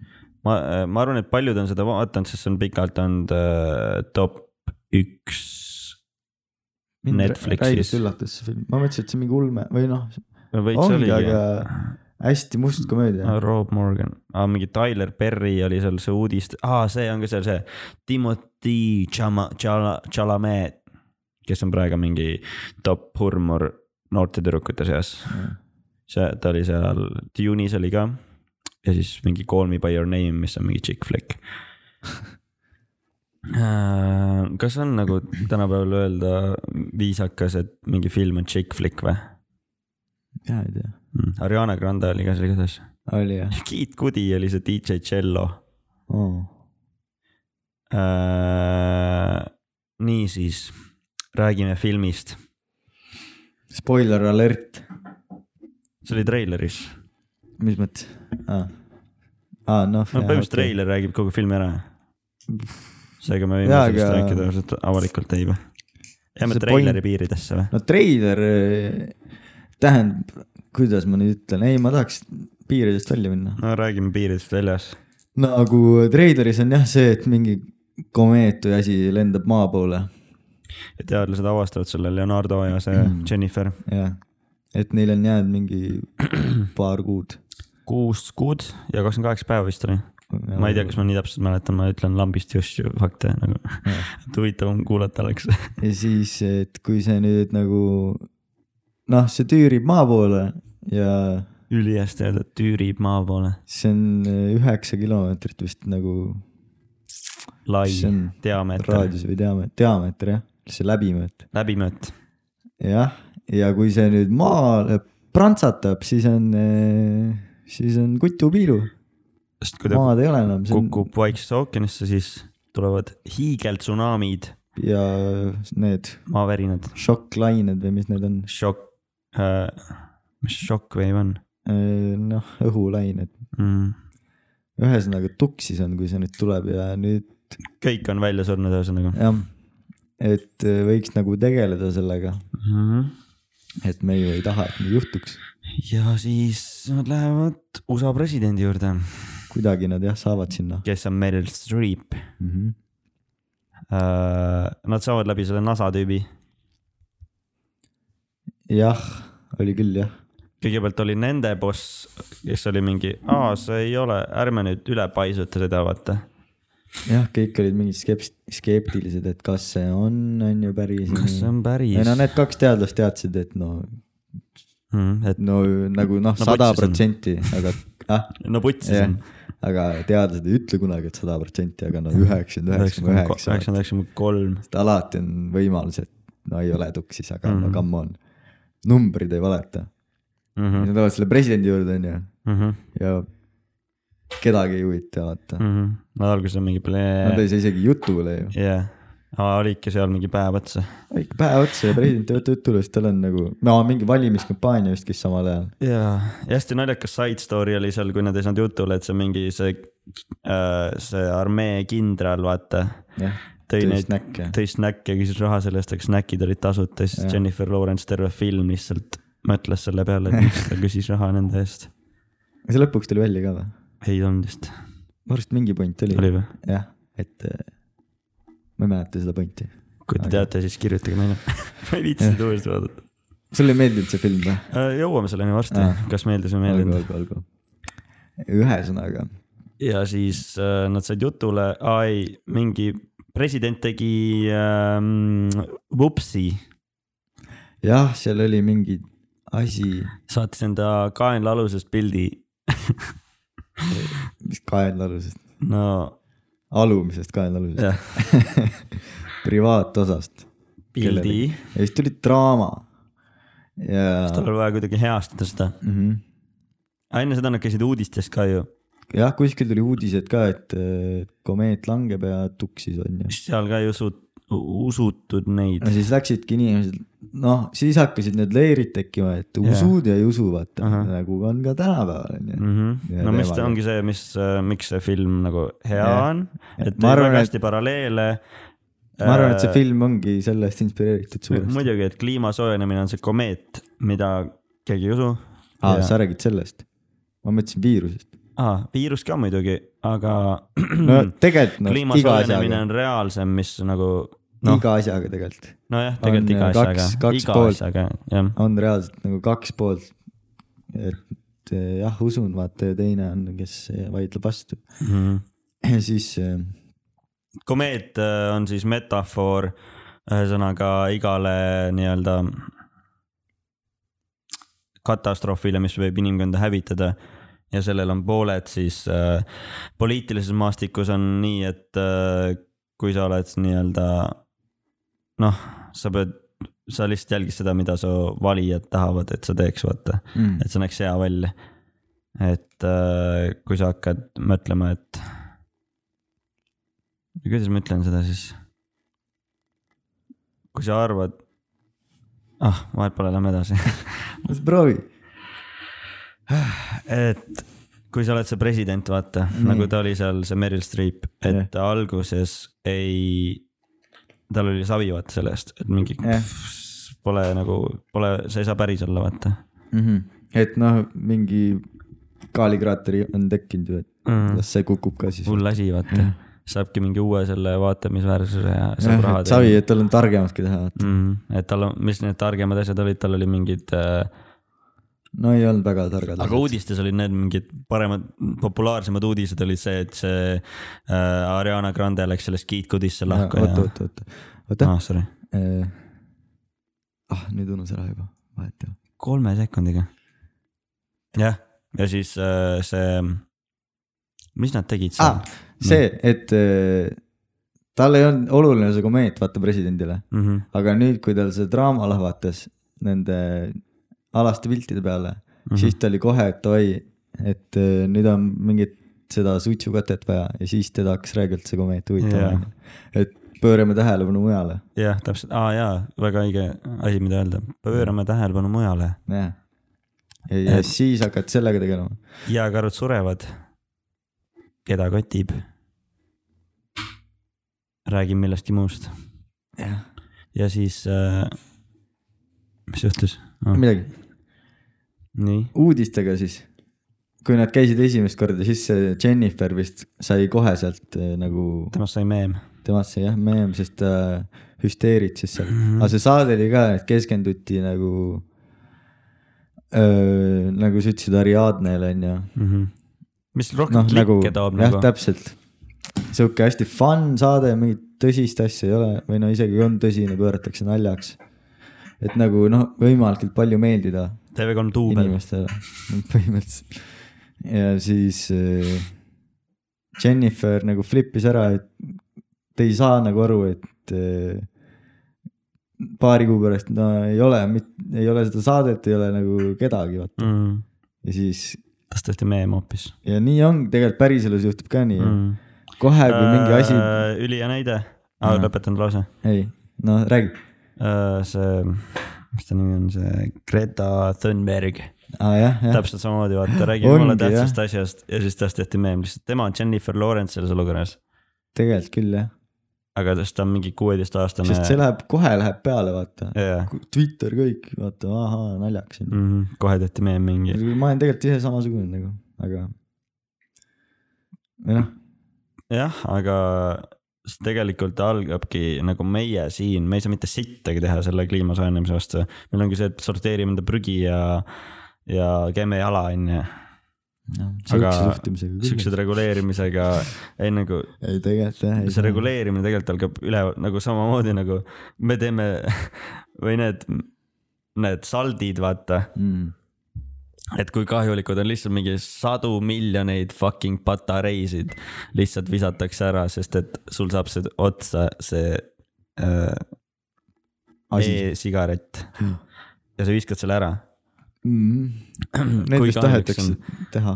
[SPEAKER 1] ma , ma arvan , et paljud on seda vaadanud , sest see on pikalt olnud äh, top üks . Netflixis.
[SPEAKER 2] täiesti üllatas see film , ma mõtlesin , et see on mingi ulme või noh ,
[SPEAKER 1] veits
[SPEAKER 2] ongi ,
[SPEAKER 1] oligi
[SPEAKER 2] aga hästi must komöödia
[SPEAKER 1] Ah, . Rob Morgan ah, , mingi Tyler Perry oli seal see uudiste ah, , see on ka seal see Timothy Chama- , Chala- , Chalamet , kes on praegu mingi top hurmur noorte tüdrukute seas . see , ta oli seal , Dune'is oli ka ja siis mingi Call me by your name , mis on mingi chick
[SPEAKER 2] [laughs]
[SPEAKER 1] flick . kas on nagu tänapäeval öelda viisakas , et mingi film on chick flick või ?
[SPEAKER 2] mina ei tea ,
[SPEAKER 1] Ariana Grande oli ka seal igatahes .
[SPEAKER 2] oli jah
[SPEAKER 1] [laughs] Kid Cudi oli see DJ Cello
[SPEAKER 2] oh. ?
[SPEAKER 1] äh, . niisiis , räägime filmist ,
[SPEAKER 2] Spoiler alert ,
[SPEAKER 1] see oli treileris .
[SPEAKER 2] mis mõttes ah. ? Ah, noh ,
[SPEAKER 1] no põhimõtteliselt treiler räägib kogu filmi ära . seega me võime
[SPEAKER 2] Jaa,
[SPEAKER 1] sellest
[SPEAKER 2] aga-
[SPEAKER 1] rääkida ausalt avalikult ei või ? jääme
[SPEAKER 2] See
[SPEAKER 1] treileri
[SPEAKER 2] point-
[SPEAKER 1] piiridesse või ?
[SPEAKER 2] no treiler eh, tähendab , kuidas ma nüüd ütlen , ei , ma tahaks piiridest välja minna .
[SPEAKER 1] no räägime piiridest väljas .
[SPEAKER 2] nagu treileris on jah see , et mingi komeet või asi lendab maa poole
[SPEAKER 1] ja teadlased avastavad selle Leonardo ja see
[SPEAKER 2] Mm.
[SPEAKER 1] Jennifer .
[SPEAKER 2] ja et neil on jäänud mingi paar kuud .
[SPEAKER 1] kuus kuud ja kakskümmend kaheksa päeva vist oli . ma ei tea , kas ma nii täpselt mäletan , ma ütlen lambist just ju fakte nagu , [laughs] et huvitavam kuulata oleks .
[SPEAKER 2] ja siis , et kui see nüüd nagu noh , see tüürib maa poole ja
[SPEAKER 1] ülihästi öelda , tüürib maa poole .
[SPEAKER 2] see on eh, üheksa kilomeetrit vist nagu
[SPEAKER 1] lai
[SPEAKER 2] See on
[SPEAKER 1] diameeter ,
[SPEAKER 2] raadius või diameeter , diameeter jah , see läbimõõt .
[SPEAKER 1] läbimõõt .
[SPEAKER 2] jah , ja kui see nüüd maale prantsatab , siis on , siis on kutupiilu ,
[SPEAKER 1] sest kui ta
[SPEAKER 2] maad ei ole enam , see on
[SPEAKER 1] kukub Vaiksesse ookeanisse , siis tulevad hiigeltsunamid
[SPEAKER 2] ja need
[SPEAKER 1] maavärinad ,
[SPEAKER 2] šokklained või mis need on ,
[SPEAKER 1] šokk äh, , mis šokkveiv on
[SPEAKER 2] noh , õhulained ,
[SPEAKER 1] mm. ?
[SPEAKER 2] ühesõnaga tuksis on , kui see nüüd tuleb ja nüüd
[SPEAKER 1] kõik on välja surnud , ühesõnaga
[SPEAKER 2] jah , et äh, võiks nagu tegeleda sellega ,
[SPEAKER 1] mm. .
[SPEAKER 2] et me ju ei taha , et nii juhtuks .
[SPEAKER 1] ja siis nad lähevad USA presidendi juurde ,
[SPEAKER 2] kuidagi nad jah saavad sinna
[SPEAKER 1] kes on Meryl Streep äh, .
[SPEAKER 2] mm . -hmm.
[SPEAKER 1] Nad saavad läbi selle NASA tüübi ,
[SPEAKER 2] jah , oli küll jah ,
[SPEAKER 1] kõigepealt oli nende boss , kes oli mingi , aa , see ei ole , ärme nüüd üle paisuta seda , vaata
[SPEAKER 2] jah , kõik olid mingid skeps- , skeptilised , et kas see on , on ju päris .
[SPEAKER 1] kas see on päris
[SPEAKER 2] ei no need kaks teadlast teadsid , et no ,
[SPEAKER 1] mm, , et
[SPEAKER 2] no nagu noh ,
[SPEAKER 1] No
[SPEAKER 2] sada
[SPEAKER 1] putsis
[SPEAKER 2] protsenti , aga ah,
[SPEAKER 1] [laughs] no putsi see
[SPEAKER 2] jah
[SPEAKER 1] on .,
[SPEAKER 2] aga teadlased ei ütle kunagi , et sada protsenti , aga no üheksakümmend üheksa koma üheksa .
[SPEAKER 1] üheksakümmend üheksakümmend kolm ,
[SPEAKER 2] sest alati on võimalus , et no ei ole tuksis , aga mm -hmm.
[SPEAKER 1] Mhm.
[SPEAKER 2] no come on . numbrid ei valeta mm. . Nad tulevad selle presidendi juurde , onju ,
[SPEAKER 1] Mhm,
[SPEAKER 2] ja kedagi ei huvita vaata mm. .
[SPEAKER 1] no mhm. alguses on mingi
[SPEAKER 2] Nad
[SPEAKER 1] plee-
[SPEAKER 2] ei saa isegi jutule ju .
[SPEAKER 1] jah , olidki seal mingi päev otsa .
[SPEAKER 2] päev otsa ja president ei võta jutule , sest tal on nagu , no mingi valimiskampaania vist , kes samal ajal .
[SPEAKER 1] ja , ja hästi naljakas side story oli seal , kui nad ei saanud jutule , et see mingi see , see armee kindral , vaata .
[SPEAKER 2] jah ,
[SPEAKER 1] tõi
[SPEAKER 2] tõi
[SPEAKER 1] neid ,
[SPEAKER 2] snäkke.
[SPEAKER 1] tõi snäkke , küsis raha selle eest , aga snäkid olid tasuta , siis
[SPEAKER 2] Jah.
[SPEAKER 1] Jennifer Lawrence terve film lihtsalt mõtles selle peale , et miks ta küsis raha nende eest .
[SPEAKER 2] see lõpuks tuli välja ka või ?
[SPEAKER 1] ei olnud vist ,
[SPEAKER 2] ma arvan , et mingi point oli,
[SPEAKER 1] oli . või ?
[SPEAKER 2] jah , et eh, ma ei mäleta seda pointi .
[SPEAKER 1] kui te
[SPEAKER 2] Aga-
[SPEAKER 1] teate , siis kirjutage meile . [laughs] ma ei viitsi seda uuesti vaadata .
[SPEAKER 2] sulle ei meeldinud see film või ?
[SPEAKER 1] Äh, jõuame selleni varsti
[SPEAKER 2] Aa. ,
[SPEAKER 1] kas meeldis või ei
[SPEAKER 2] olgu ,
[SPEAKER 1] meeldinud .
[SPEAKER 2] olgu , olgu . ühesõnaga ,
[SPEAKER 1] ja siis äh, nad said jutule , ai , mingi president tegi ähm, vupsi ,
[SPEAKER 2] jah , seal oli mingi asi ,
[SPEAKER 1] saatis enda kaenla alusest pildi . [laughs]
[SPEAKER 2] mis kaenlalusest ,
[SPEAKER 1] no
[SPEAKER 2] alumisest kaenlalusest ,
[SPEAKER 1] jah ,
[SPEAKER 2] [laughs] privaatosast .
[SPEAKER 1] pildi ,
[SPEAKER 2] ja siis tuli draama . ja , Mhm.
[SPEAKER 1] tal oli vaja kuidagi heastada seda . enne seda nad käisid uudistes ka ju ,
[SPEAKER 2] jah , kuskil tuli uudised ka , et eh, komeet langeb ja tuksis on ju .
[SPEAKER 1] seal ka ei usu- , usutud neid
[SPEAKER 2] no . siis läksidki inimesed , noh , siis hakkasid need leerid tekkima , et usud ja ei usu , vaata
[SPEAKER 1] Ahah.
[SPEAKER 2] nagu on ka tänapäeval on ju .
[SPEAKER 1] Mm -hmm.
[SPEAKER 2] Ja
[SPEAKER 1] no mis
[SPEAKER 2] teemaga.
[SPEAKER 1] ta ongi see , mis , miks see film nagu hea
[SPEAKER 2] Jah.
[SPEAKER 1] on , et
[SPEAKER 2] Ma
[SPEAKER 1] ma
[SPEAKER 2] arvan,
[SPEAKER 1] arvan ,
[SPEAKER 2] et-
[SPEAKER 1] hästi paralleele .
[SPEAKER 2] ma arvan , et see film ongi sellest inspireeritud suuresti .
[SPEAKER 1] Äh, muidugi , et kliima soojenemine on see komeet , mida keegi ei usu .
[SPEAKER 2] aa , sa räägid sellest ? ma mõtlesin
[SPEAKER 1] [clears throat]
[SPEAKER 2] viirusest .
[SPEAKER 1] ah, , viirus ka muidugi , aga
[SPEAKER 2] [clears throat] no tegelikult noh ,
[SPEAKER 1] kliima
[SPEAKER 2] iga
[SPEAKER 1] soojenemine
[SPEAKER 2] asjaga ,
[SPEAKER 1] on reaalsem , mis nagu noh ,
[SPEAKER 2] iga asjaga tegelikult
[SPEAKER 1] nojah , tegelikult
[SPEAKER 2] on äh,
[SPEAKER 1] iga
[SPEAKER 2] kaks-
[SPEAKER 1] asjaga ,
[SPEAKER 2] kaks
[SPEAKER 1] iga
[SPEAKER 2] poolt.
[SPEAKER 1] asjaga jah ,
[SPEAKER 2] on reaalselt nagu kaks poolt . et eh, jah , usun , vaata ja teine on , kes vaidleb vastu .
[SPEAKER 1] Mhm.
[SPEAKER 2] siis eh,
[SPEAKER 1] komeet äh, on siis metafoor , ühesõnaga igale nii-öelda katastroofile , mis võib inimkonda hävitada ja sellel on pooled siis äh, poliitilises maastikus on nii , et äh, kui sa oled nii-öelda noh , sa pead , sa lihtsalt jälgid seda , mida su valijad tahavad , et sa teeks , vaata ,
[SPEAKER 2] mm,
[SPEAKER 1] et see näeks hea välja . et äh, kui sa hakkad mõtlema , et kuidas ma ütlen seda siis ? kui sa arvad , ah , vahet pole , lähme edasi . [laughs]
[SPEAKER 2] las proovi .
[SPEAKER 1] et kui sa oled see president , vaata
[SPEAKER 2] Nii.
[SPEAKER 1] mm. , nagu ta oli seal , see Meryl Streep , et
[SPEAKER 2] Jah.
[SPEAKER 1] yeah. alguses ei , tal oli savi vaata selle eest , et mingi
[SPEAKER 2] Jah.
[SPEAKER 1] yeah. pole nagu , pole , see ei saa päris olla , vaata
[SPEAKER 2] et noh , mingi kaalikraateri on tekkinud ju , et
[SPEAKER 1] mm. .
[SPEAKER 2] las see kukub ka siis .
[SPEAKER 1] hull asi , vaata . saabki mingi uue selle vaatamisväärsuse ja saab raha teha .
[SPEAKER 2] savi , et tal on targematki teha , vaata .
[SPEAKER 1] Mm, et tal on , mis need targemad asjad olid , tal oli mingid äh, ,
[SPEAKER 2] no ei olnud väga targad .
[SPEAKER 1] aga uudistes olid need mingid paremad , populaarsemad uudised olid see , et see äh, Ariana Grande läks sellest Geet Goodisse lahku
[SPEAKER 2] oota ,
[SPEAKER 1] ja .
[SPEAKER 2] oota , oota , oota .
[SPEAKER 1] ah , sorry ,
[SPEAKER 2] ah , nüüd unus ära juba , vahet ei ole .
[SPEAKER 1] kolme sekundiga . jah , ja siis äh, see , mis nad tegid seal
[SPEAKER 2] Ah, ? see , et eh, tal ei olnud oluline see komeet , vaata presidendile ,
[SPEAKER 1] Mm -hmm,
[SPEAKER 2] aga nüüd , kui tal see draama lahvatas nende alaste piltide peale mm ,
[SPEAKER 1] Mhm.
[SPEAKER 2] -hmm. siis ta oli kohe , et oi , et eh, nüüd on mingit seda suitsukatet vaja ja siis teda hakkas räigelt see komeet huvitama
[SPEAKER 1] Jaa.
[SPEAKER 2] yeah. . et pöörame tähelepanu mujale .
[SPEAKER 1] jah , täpselt , aa jaa , väga õige asi , mida öelda , pöörame tähelepanu mujale
[SPEAKER 2] ja , ja
[SPEAKER 1] Et-
[SPEAKER 2] siis hakkad sellega tegelema .
[SPEAKER 1] jääkarud surevad . keda kotib ? räägin millestki muust . ja siis äh, , mis juhtus ah, ?
[SPEAKER 2] midagi ,
[SPEAKER 1] nii ,
[SPEAKER 2] uudistega siis . kui nad käisid esimest korda , siis see Jennifer vist sai kohe sealt eh, nagu ,
[SPEAKER 1] temast sai meem .
[SPEAKER 2] temast sai jah meem , sest ta hüsteeritses seal . aga see saade oli ka , et keskenduti nagu öö, nagu sa ütlesid , Ariadnele onju
[SPEAKER 1] mis rohkem no, klikke nagu, toob
[SPEAKER 2] Mhm. Noh, jah ,
[SPEAKER 1] nagu .
[SPEAKER 2] täpselt . sihuke hästi fun saade , mingit tõsist asja ei ole või no isegi kui on tõsine , pööratakse naljaks . et nagu noh , võimalikult palju meeldida
[SPEAKER 1] TV3 duubel ,
[SPEAKER 2] inimestele põhimõtteliselt . ja siis äh, Jennifer nagu flip'is ära , et ta ei saa nagu aru , et äh, paari kuu pärast no ei ole , ei ole seda saadet , ei ole nagu kedagi vaata ja siis
[SPEAKER 1] tast tehti Mhm. meem hoopis
[SPEAKER 2] ja nii on , tegelikult päriselus juhtub ka nii mm. .
[SPEAKER 1] mm. .
[SPEAKER 2] kohe kui mingi asi ,
[SPEAKER 1] Äh, ülihea näide ah, ,
[SPEAKER 2] Jah.
[SPEAKER 1] lõpetanud lause .
[SPEAKER 2] ei , no räägi
[SPEAKER 1] see , mis ta nimi on , see Greta Thunberg
[SPEAKER 2] ah, , jah , jah ,
[SPEAKER 1] täpselt samamoodi , vaata , räägib
[SPEAKER 2] Ongi,
[SPEAKER 1] jumala tähtsast
[SPEAKER 2] jah.
[SPEAKER 1] asjast ja siis tast tehti meem lihtsalt , tema on Jennifer Lawrence selles olukorras .
[SPEAKER 2] tegelikult küll jah ,
[SPEAKER 1] aga sest ta on mingi kuueteistaastane .
[SPEAKER 2] sest see läheb , kohe läheb peale , vaata .
[SPEAKER 1] jaa ,
[SPEAKER 2] Twitter kõik , vaata , ahaa , naljakas on
[SPEAKER 1] Mhm, kohe tehti meem mingi ,
[SPEAKER 2] mm. . ma olen tegelikult ise samasugune nagu , aga . või noh ,
[SPEAKER 1] jah , aga s- tegelikult algabki nagu meie siin , me ei saa mitte sittagi teha selle kliima soojenemise vastu . meil ongi see , et sorteerime enda prügi ja , ja käime jala , onju .
[SPEAKER 2] sihukese
[SPEAKER 1] Aga
[SPEAKER 2] suhtumisega küll .
[SPEAKER 1] Siuksed reguleerimisega , ei nagu
[SPEAKER 2] ei tegelikult jah ,
[SPEAKER 1] see
[SPEAKER 2] ei .
[SPEAKER 1] reguleerimine tegelikult algab üle nagu samamoodi nagu me teeme [laughs] või need , need saldid , vaata ,
[SPEAKER 2] Mm.
[SPEAKER 1] et kui kahjulikud on lihtsalt mingi sadu miljoneid fucking patareisid lihtsalt visatakse ära , sest et sul saab see otsa see äh,
[SPEAKER 2] asi
[SPEAKER 1] e-sigaret
[SPEAKER 2] Mm.
[SPEAKER 1] ja sa viskad selle ära .
[SPEAKER 2] mm. . [clears throat] Need
[SPEAKER 1] Kui
[SPEAKER 2] vist
[SPEAKER 1] kahjuliks
[SPEAKER 2] tahetakse teha ,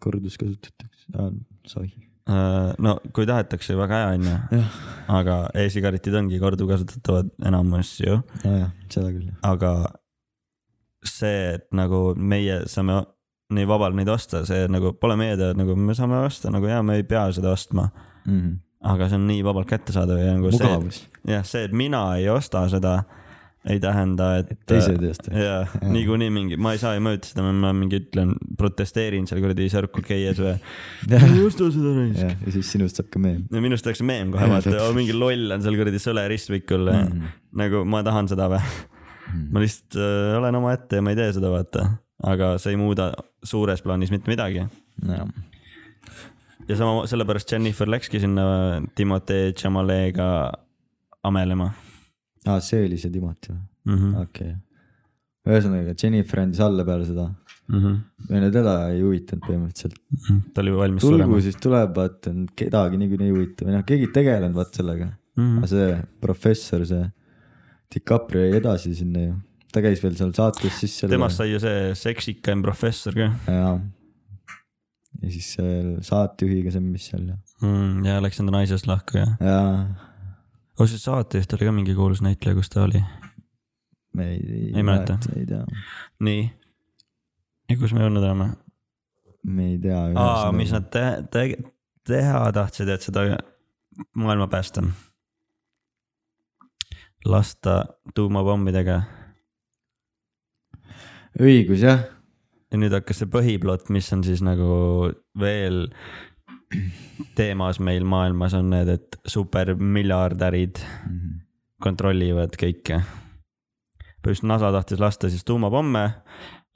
[SPEAKER 2] korduskasutatakse ah, , sorry .
[SPEAKER 1] Äh, no kui tahetakse , väga hea onju
[SPEAKER 2] Jah. ,
[SPEAKER 1] aga e-sigaretid ongi korduvkasutatavad enamus ju
[SPEAKER 2] nojah , seda küll jah .
[SPEAKER 1] aga see , et nagu meie saame nii vabalt neid osta , see nagu pole meie töö , nagu me saame osta nagu ja me ei pea seda ostma ,
[SPEAKER 2] mm. .
[SPEAKER 1] aga see on nii vabalt kättesaadav ja nagu see ,
[SPEAKER 2] mugavus ,
[SPEAKER 1] jah , see , et mina ei osta seda , ei tähenda , et .
[SPEAKER 2] teised ei osta .
[SPEAKER 1] jaa , niikuinii mingi , ma ei saa ju mõjutada , ma mingi ütlen , protesteerin seal kuradi Circle K-s [laughs] või .
[SPEAKER 2] Jah.
[SPEAKER 1] ei osta seda raisk .
[SPEAKER 2] jah , ja siis sinust saab ka meem .
[SPEAKER 1] no minust tehakse meem kohe ,
[SPEAKER 2] Jaa,
[SPEAKER 1] vaata
[SPEAKER 2] täpselt. , Mhm.
[SPEAKER 1] mingi loll on seal kuradi sõle ristmikul mm. . nagu ma tahan seda või ma lihtsalt äh, olen omaette ja ma ei tee seda , vaata . aga see ei muuda suures plaanis mitte midagi .
[SPEAKER 2] jah ,
[SPEAKER 1] ja sama , sellepärast Jennifer läkski sinna äh, Timotee Chamalega amelema
[SPEAKER 2] aa , see oli see Timoti või ?
[SPEAKER 1] mm . -hmm.
[SPEAKER 2] okei okay. . ühesõnaga Jennifer andis alla peale seda ,
[SPEAKER 1] Mm
[SPEAKER 2] või no teda ei huvitanud põhimõtteliselt .
[SPEAKER 1] -hmm. ta oli valmis
[SPEAKER 2] tulgu
[SPEAKER 1] surema .
[SPEAKER 2] siis tuleb , vaata kedagi niikuinii ei huvita või noh , keegi ei tegelenud vaata sellega .
[SPEAKER 1] Mm
[SPEAKER 2] aga
[SPEAKER 1] -hmm.
[SPEAKER 2] see professor , see DiCaprio jäi edasi sinna ju , ta käis veel seal saates sisse .
[SPEAKER 1] temast sai ju see seksikam professor ka
[SPEAKER 2] jaa . ja siis selle saatejuhiga , see , mis seal ja ,
[SPEAKER 1] mm, . ja läks enda naisest lahku ja .
[SPEAKER 2] jaa ,
[SPEAKER 1] muuseas , saatejuht oli ka mingi kuulus näitleja , kus ta oli .
[SPEAKER 2] me ei .
[SPEAKER 1] Ei mäleta. .
[SPEAKER 2] ei tea ,
[SPEAKER 1] nii . ja kus me olnud oleme ?
[SPEAKER 2] me ei tea .
[SPEAKER 1] aa , mis nad te te teha tahtsid , et seda maailma päästa . lasta tuumapommidega
[SPEAKER 2] õigus jah ,
[SPEAKER 1] ja nüüd hakkas see põhiplott , mis on siis nagu veel teemas meil maailmas on need , et supermiljardärid kontrollivad kõike . just NASA tahtis lasta siis tuumapomme ,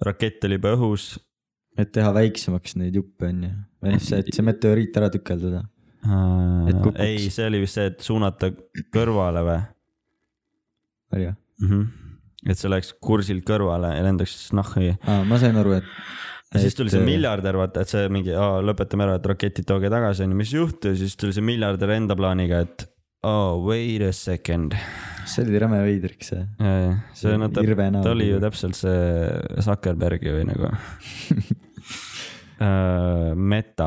[SPEAKER 1] rakett oli juba õhus
[SPEAKER 2] et teha väiksemaks neid juppe onju , või noh , see , et see meteoriit ära tükeldada . Et
[SPEAKER 1] äh, .
[SPEAKER 2] kukuks.
[SPEAKER 1] ei , see oli vist see , et suunata kõrvale või
[SPEAKER 2] oli või ?
[SPEAKER 1] mm . -hmm. et see läheks kursilt kõrvale ja lendaks nahhi . äh,
[SPEAKER 2] aa , ma sain aru , et .
[SPEAKER 1] ja siis tuli see . miljardär , vaata , et see mingi , lõpetame ära , et raketid tooge tagasi , onju , mis juhtus , siis tuli see miljardär enda plaaniga , et oh, wait a second .
[SPEAKER 2] äh, see oli räme veidrik see .
[SPEAKER 1] see on , ta
[SPEAKER 2] Irve näol
[SPEAKER 1] ta oli ju täpselt see Zuckerbergi või [laughs] nagu Äh, Meta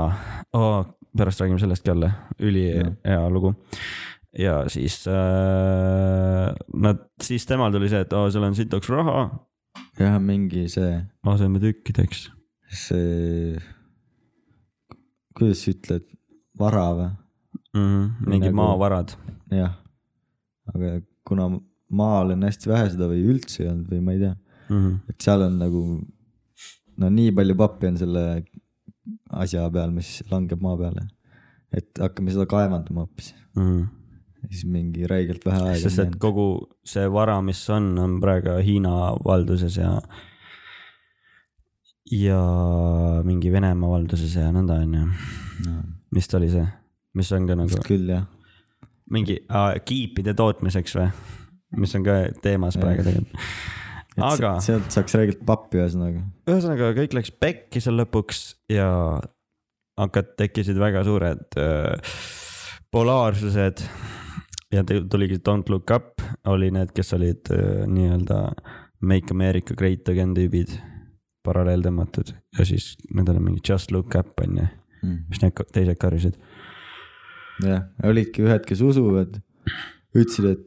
[SPEAKER 1] oh, , pärast räägime sellest ka jälle , ülihea lugu . ja siis äh, nad , siis temal tuli see , et aa , sul on sitoks raha ,
[SPEAKER 2] jah , mingi see ,
[SPEAKER 1] laseme tükkideks .
[SPEAKER 2] see , kuidas sa ütled , vara või ?
[SPEAKER 1] Mhm, mingid
[SPEAKER 2] Nagu-
[SPEAKER 1] maavarad .
[SPEAKER 2] jah , aga kuna maal on hästi vähe seda või üldse ei olnud või ma ei tea ,
[SPEAKER 1] Mhm,
[SPEAKER 2] et seal on nagu no nii palju pappi on selle asja peal , mis langeb maa peale . et hakkame seda kaevandama hoopis , siis mingi räigelt vähe aega
[SPEAKER 1] mhm. sest
[SPEAKER 2] on
[SPEAKER 1] et
[SPEAKER 2] jäänud .
[SPEAKER 1] kogu see vara , mis on , on praegu Hiina valduses ja , ja mingi Venemaa valduses ja nõnda onju .
[SPEAKER 2] No,
[SPEAKER 1] mis ta oli see , mis on ka nagu
[SPEAKER 2] vist küll jah ,
[SPEAKER 1] mingi äh, kiipide tootmiseks või , mis on ka teemas praegu tegelikult .
[SPEAKER 2] et
[SPEAKER 1] aga
[SPEAKER 2] se- sealt saaks räigelt pappi ühesõnaga .
[SPEAKER 1] ühesõnaga kõik läks pekki seal lõpuks ja hakad , tekkisid väga suured äh, polaarsused . ja te- tuligi Don't Look Up oli need , kes olid äh, nii-öelda Make America Great Again tüübid , paralleel tõmmatud ja siis nendel on mingi Just Look Up on ju , mis need ka- teised karjusid .
[SPEAKER 2] jah , olidki ühed , kes usuvad , ütlesid , et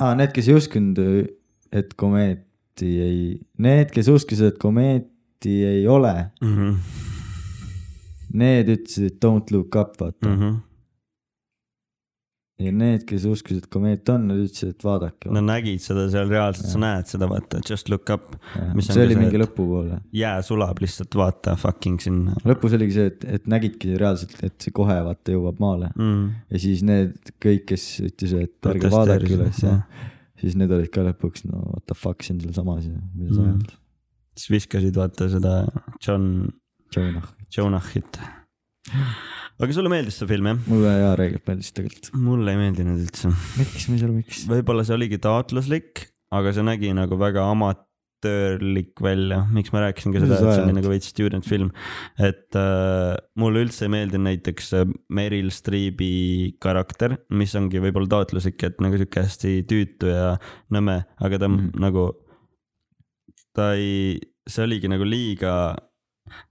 [SPEAKER 2] ah, need , kes ei uskunud , et komeeti ei , need , kes uskusid , et komeeti ei ole ,
[SPEAKER 1] Mhm.
[SPEAKER 2] need ütlesid et don't look up , vaata
[SPEAKER 1] Mhm.
[SPEAKER 2] mm. . ja need , kes uskusid , et komeet on , nad ütlesid , et vaadake
[SPEAKER 1] Nad . nägid seda seal reaalselt , sa näed seda , vaata Just Look Up , mis on
[SPEAKER 2] see
[SPEAKER 1] ka
[SPEAKER 2] oli
[SPEAKER 1] see,
[SPEAKER 2] mingi
[SPEAKER 1] et-
[SPEAKER 2] lõpupoole ,
[SPEAKER 1] jää sulab lihtsalt , vaata fucking sinna
[SPEAKER 2] lõpus oligi see , et , et nägidki reaalselt , et see kohe vaata jõuab maale
[SPEAKER 1] mm. .
[SPEAKER 2] ja siis need kõik , kes ütlesid , et ärge vaadake
[SPEAKER 1] Protesteerisid, Mhm.
[SPEAKER 2] üles ,
[SPEAKER 1] jah.
[SPEAKER 2] siis need olid ka lõpuks , no what the fuck siin sealsamas ja mida sa
[SPEAKER 1] Mm.
[SPEAKER 2] ajad ,
[SPEAKER 1] siis viskasid vaata seda John ,
[SPEAKER 2] Jonah .
[SPEAKER 1] Jonahit . aga sulle meeldis see film jah ?
[SPEAKER 2] mulle jaa reegelt meeldis tegelikult .
[SPEAKER 1] mulle ei meeldinud üldse .
[SPEAKER 2] miks , mis seal miks ?
[SPEAKER 1] võib-olla see oligi taotluslik , aga see nägi nagu väga amatöörlik välja , miks ma rääkisin ka seda ,
[SPEAKER 2] Mis sa
[SPEAKER 1] et see oli
[SPEAKER 2] ajad?
[SPEAKER 1] nagu veits student film . et äh, mulle üldse ei meeldinud näiteks äh, Meryl Streepi karakter , mis ongi võib-olla taotluslik , et nagu sihuke hästi tüütu ja nõme , aga ta mm.
[SPEAKER 2] Mhm.
[SPEAKER 1] nagu , ta ei , see oligi nagu liiga ,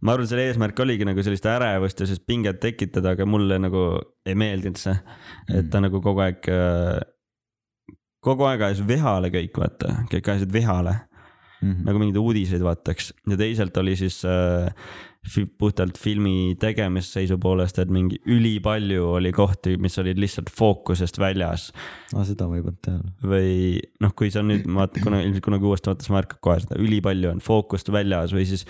[SPEAKER 1] ma arvan , selle eesmärk oligi nagu sellist ärevust ja sellist pinget tekitada , aga mulle nagu ei meeldinud see , et ta nagu kogu aeg , kogu aeg ajas vihale kõik , vaata , kõik ajasid vihale
[SPEAKER 2] Mm. Mhm.
[SPEAKER 1] nagu mingeid uudiseid vaataks ja teisalt oli siis äh, fi- puhtalt filmi tegemise seisupoolest , et mingi ülipalju oli kohti , mis olid lihtsalt fookusest väljas
[SPEAKER 2] aa , Ah, seda ma ei pannud tähele .
[SPEAKER 1] või noh , kui sa nüüd vaatad , kuna ilmselt kunagi uuesti vaatad , sa märkad kohe seda , ülipalju on fookust väljas või siis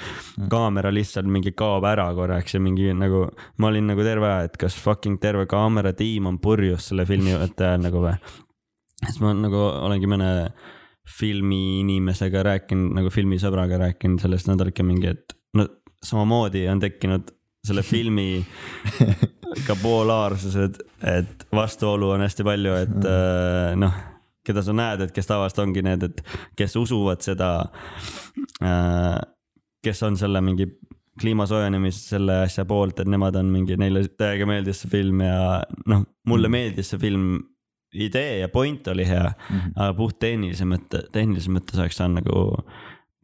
[SPEAKER 1] kaamera lihtsalt mingi kaob ära korraks ja mingi nagu , ma olin nagu terve aja , et kas fucking terve kaameratiim on purjus selle filmi võtta ajal nagu või . siis ma nagu olengi mõne filmiinimesega rääkinud , nagu filmisõbraga rääkinud sellest nädalake mingi , et no samamoodi on tekkinud selle filmi ka poolaarsused , et vastuolu on hästi palju , et äh, noh , keda sa näed , et kes tavaliselt ongi need , et kes usuvad seda äh, , kes on selle mingi kliima soojenemise selle asja poolt , et nemad on mingi , neile täiega meeldis see film ja noh , mulle meeldis see film , idee ja point oli hea ,
[SPEAKER 2] Mhm.
[SPEAKER 1] aga puht tehnilise mõtte , tehnilise mõtte saaks ta nagu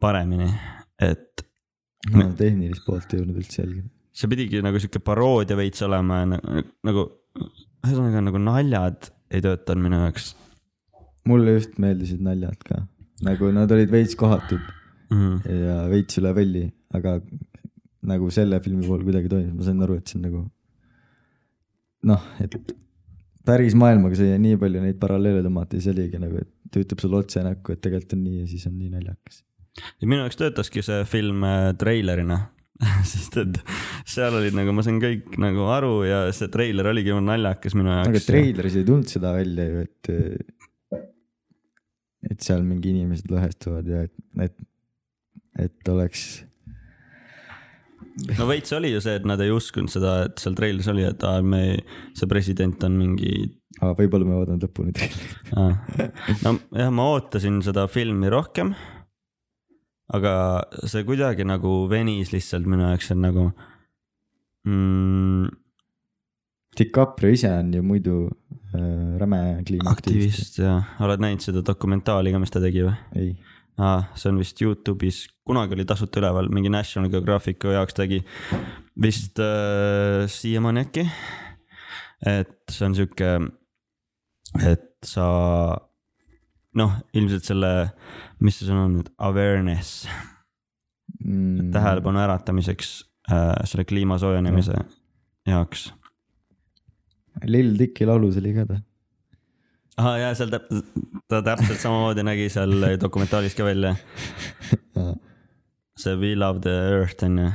[SPEAKER 1] paremini , et
[SPEAKER 2] ma tehnilist poolt ei jõudnud üldse jälgida .
[SPEAKER 1] see pidigi nagu sihuke paroodia veits olema ja nagu, nagu , ühesõnaga nagu naljad ei töötanud minu jaoks
[SPEAKER 2] mulle just meeldisid naljad ka , nagu nad olid veits kohatud
[SPEAKER 1] mm. .
[SPEAKER 2] ja veits üle võlli , aga nagu selle filmi puhul kuidagi toimis , ma sain aru , et see on nagu noh , et päris maailmaga sai nii palju neid paralleele tõmmata ja see oligi nagu , et ta ütleb sulle otse näkku , et tegelikult on nii ja siis on nii naljakas .
[SPEAKER 1] ja minu jaoks töötaski see film äh, treilerina , [laughs] sest et seal olid nagu , ma sain kõik nagu aru ja see treiler oligi naljakas minu jaoks .
[SPEAKER 2] aga treileris ei tulnud seda välja ju , et , et seal mingi inimesed lõhestuvad ja et , et , et oleks ,
[SPEAKER 1] no veits oli ju see , et nad ei uskunud seda , et seal treileris oli , et aa , me , see president on mingi
[SPEAKER 2] aga võib-olla ma vaatan lõpuni treilerit .
[SPEAKER 1] Ah. no jah , ma ootasin seda filmi rohkem . aga see kuidagi nagu venis lihtsalt minu jaoks , et nagu mm, .
[SPEAKER 2] DiCaprio ise on ju muidu äh, räme kliimaaktivist .
[SPEAKER 1] aktivist ja oled näinud seda dokumentaali ka , mis ta tegi või ?
[SPEAKER 2] ei ,
[SPEAKER 1] ah, . see on vist Youtube'is , kunagi oli tasuta üleval , mingi National Geographicu jaoks tegi vist äh, siiamaani äkki . et see on sihuke et sa noh , ilmselt selle , mis see sõna on nüüd , awareness ,
[SPEAKER 2] mm, .
[SPEAKER 1] tähelepanu äratamiseks äh, selle kliima soojenemise jaoks .
[SPEAKER 2] Lil Dicky laulus oli ka ta .
[SPEAKER 1] ahah , ja seal täp- , ta täpselt samamoodi nägi seal dokumentaalis ka välja . see We love the earth on ju ,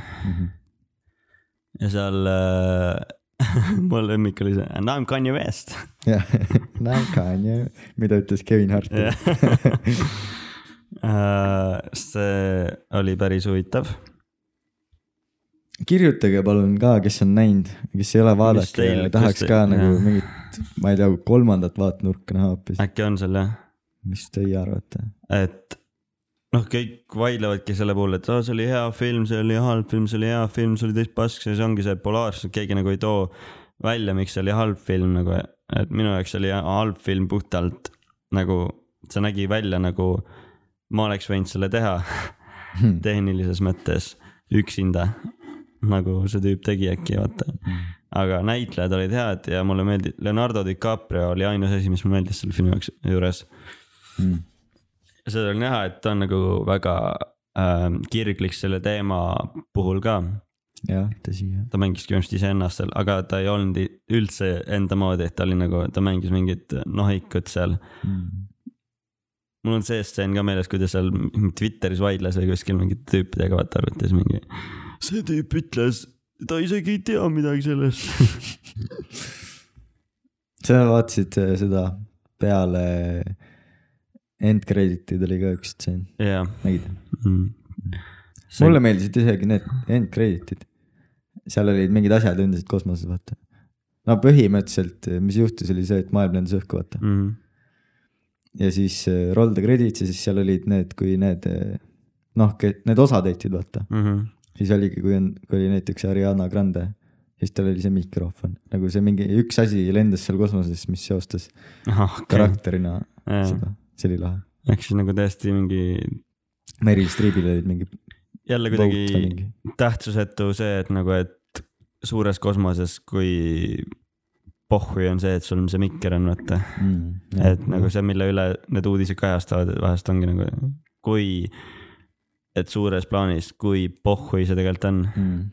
[SPEAKER 1] ja seal äh, [laughs] mu lemmik oli see And I m Kanye West . [laughs]
[SPEAKER 2] jah , Naka on ju , mida ütles Kevin Hart .
[SPEAKER 1] Äh, see oli päris huvitav .
[SPEAKER 2] kirjutage palun ka , kes on näinud , kes ei ole vaadanud
[SPEAKER 1] teil-
[SPEAKER 2] ja tahaks
[SPEAKER 1] kus te-
[SPEAKER 2] ka nagu
[SPEAKER 1] jah.
[SPEAKER 2] mingit , ma ei tea , kolmandat vaatenurka näha hoopis .
[SPEAKER 1] äkki on seal jah ?
[SPEAKER 2] mis teie arvate ?
[SPEAKER 1] et noh , kõik vaidlevadki selle puhul , et oh, see oli hea film , see oli halb film , see oli hea film , see oli täis pask , see ongi see polaarsus , et keegi nagu ei too välja , miks see oli halb film nagu , et minu jaoks oli halb film puhtalt nagu , see nägi välja nagu ma oleks võinud selle teha [laughs] tehnilises mõttes üksinda , nagu see tüüp tegi äkki , vaata . aga näitlejad olid head ja mulle meeldib , Leonardo DiCaprio oli ainus asi , mis mulle meeldis selle filmi jaoks- juures ja seda on näha , et ta on nagu väga ähm, kirglik selle teema puhul ka .
[SPEAKER 2] jah , tõsi jah .
[SPEAKER 1] ta mängiski ilmselt iseennast seal , aga ta ei olnud i- üldse enda moodi , et ta oli nagu , ta mängis mingit nohikut seal .
[SPEAKER 2] Mm.
[SPEAKER 1] mul on see stseen ka meeles , kui ta seal m- Twitteris vaidles või kuskil mingite tüüpidega vaata arutas mingi . see tüüp ütles , ta isegi ei tea midagi sellest .
[SPEAKER 2] sa vaatasid äh, seda peale end credit'id oli ka üks stseen ,
[SPEAKER 1] [laughs] jah .
[SPEAKER 2] nägid ? mulle meeldisid isegi need end credit'id . seal olid mingid asjad endiselt kosmoses , vaata . no põhimõtteliselt , mis juhtus , oli see , et maailm lendas õhku , vaata .
[SPEAKER 1] mm .
[SPEAKER 2] ja siis äh, roll the credits ja siis seal olid need , kui need äh, noh , need osatäitjad , vaata .
[SPEAKER 1] -hmm.
[SPEAKER 2] siis oligi , kui on , kui oli näiteks Ariana Grande , siis tal oli see mikrofon , nagu see mingi üks asi lendas seal kosmoses , mis seostas
[SPEAKER 1] ahah ,
[SPEAKER 2] karakterina
[SPEAKER 1] okei .
[SPEAKER 2] seda , see oli lahe .
[SPEAKER 1] ehk siis nagu täiesti mingi ,
[SPEAKER 2] Meryl Streepil olid mingi
[SPEAKER 1] jälle
[SPEAKER 2] vote või
[SPEAKER 1] kuidagi
[SPEAKER 2] mingi ,
[SPEAKER 1] tähtsusetu see , et nagu , et suures kosmoses , kui pohhui on see , et sul see mikker on , vaata .
[SPEAKER 2] Mm,
[SPEAKER 1] et nagu see , mille üle need uudised kajastavad , et vahest ongi nagu , kui , et suures plaanis , kui pohhui see tegelikult on ,
[SPEAKER 2] mm. .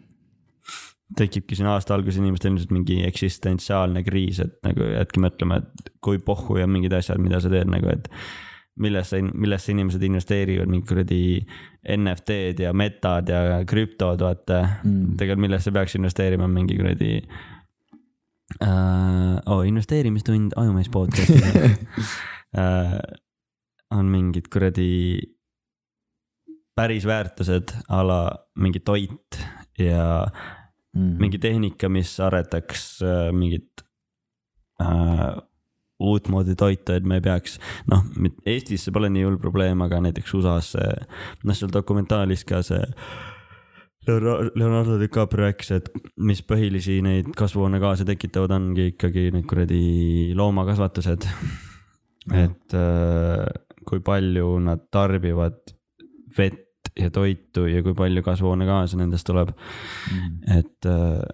[SPEAKER 1] tekibki siin aasta alguses inimestel ilmselt mingi eksistentsiaalne kriis , et nagu jätke mõtlema , et kui pohhui on mingid asjad , mida sa teed nagu , et millesse , millesse inimesed investeerivad , mingi kuradi NFT-d ja metad ja krüptod , vaata
[SPEAKER 2] Mm.
[SPEAKER 1] mm. . tegelikult millesse peaks investeerima , on mingi kuradi uh, , oh, investeerimistund Ajumees
[SPEAKER 2] [laughs]
[SPEAKER 1] podcast'i uh, . on mingid kuradi päris väärtused a la mingi toit ja
[SPEAKER 2] Mm.
[SPEAKER 1] mingi tehnika , mis aretaks äh, mingit äh, uutmoodi toitu , et me ei peaks , noh , Eestis see pole nii hull probleem , aga näiteks USA-s see , noh , seal dokumentaalis ka see . Leonardo DiCaprio rääkis , et mis põhilisi neid kasvuhoonegaase tekitavad , ongi ikkagi need kuradi loomakasvatused . et äh, kui palju nad tarbivad vett ja toitu ja kui palju kasvuhoonegaase nendest tuleb .
[SPEAKER 2] mm.
[SPEAKER 1] et äh,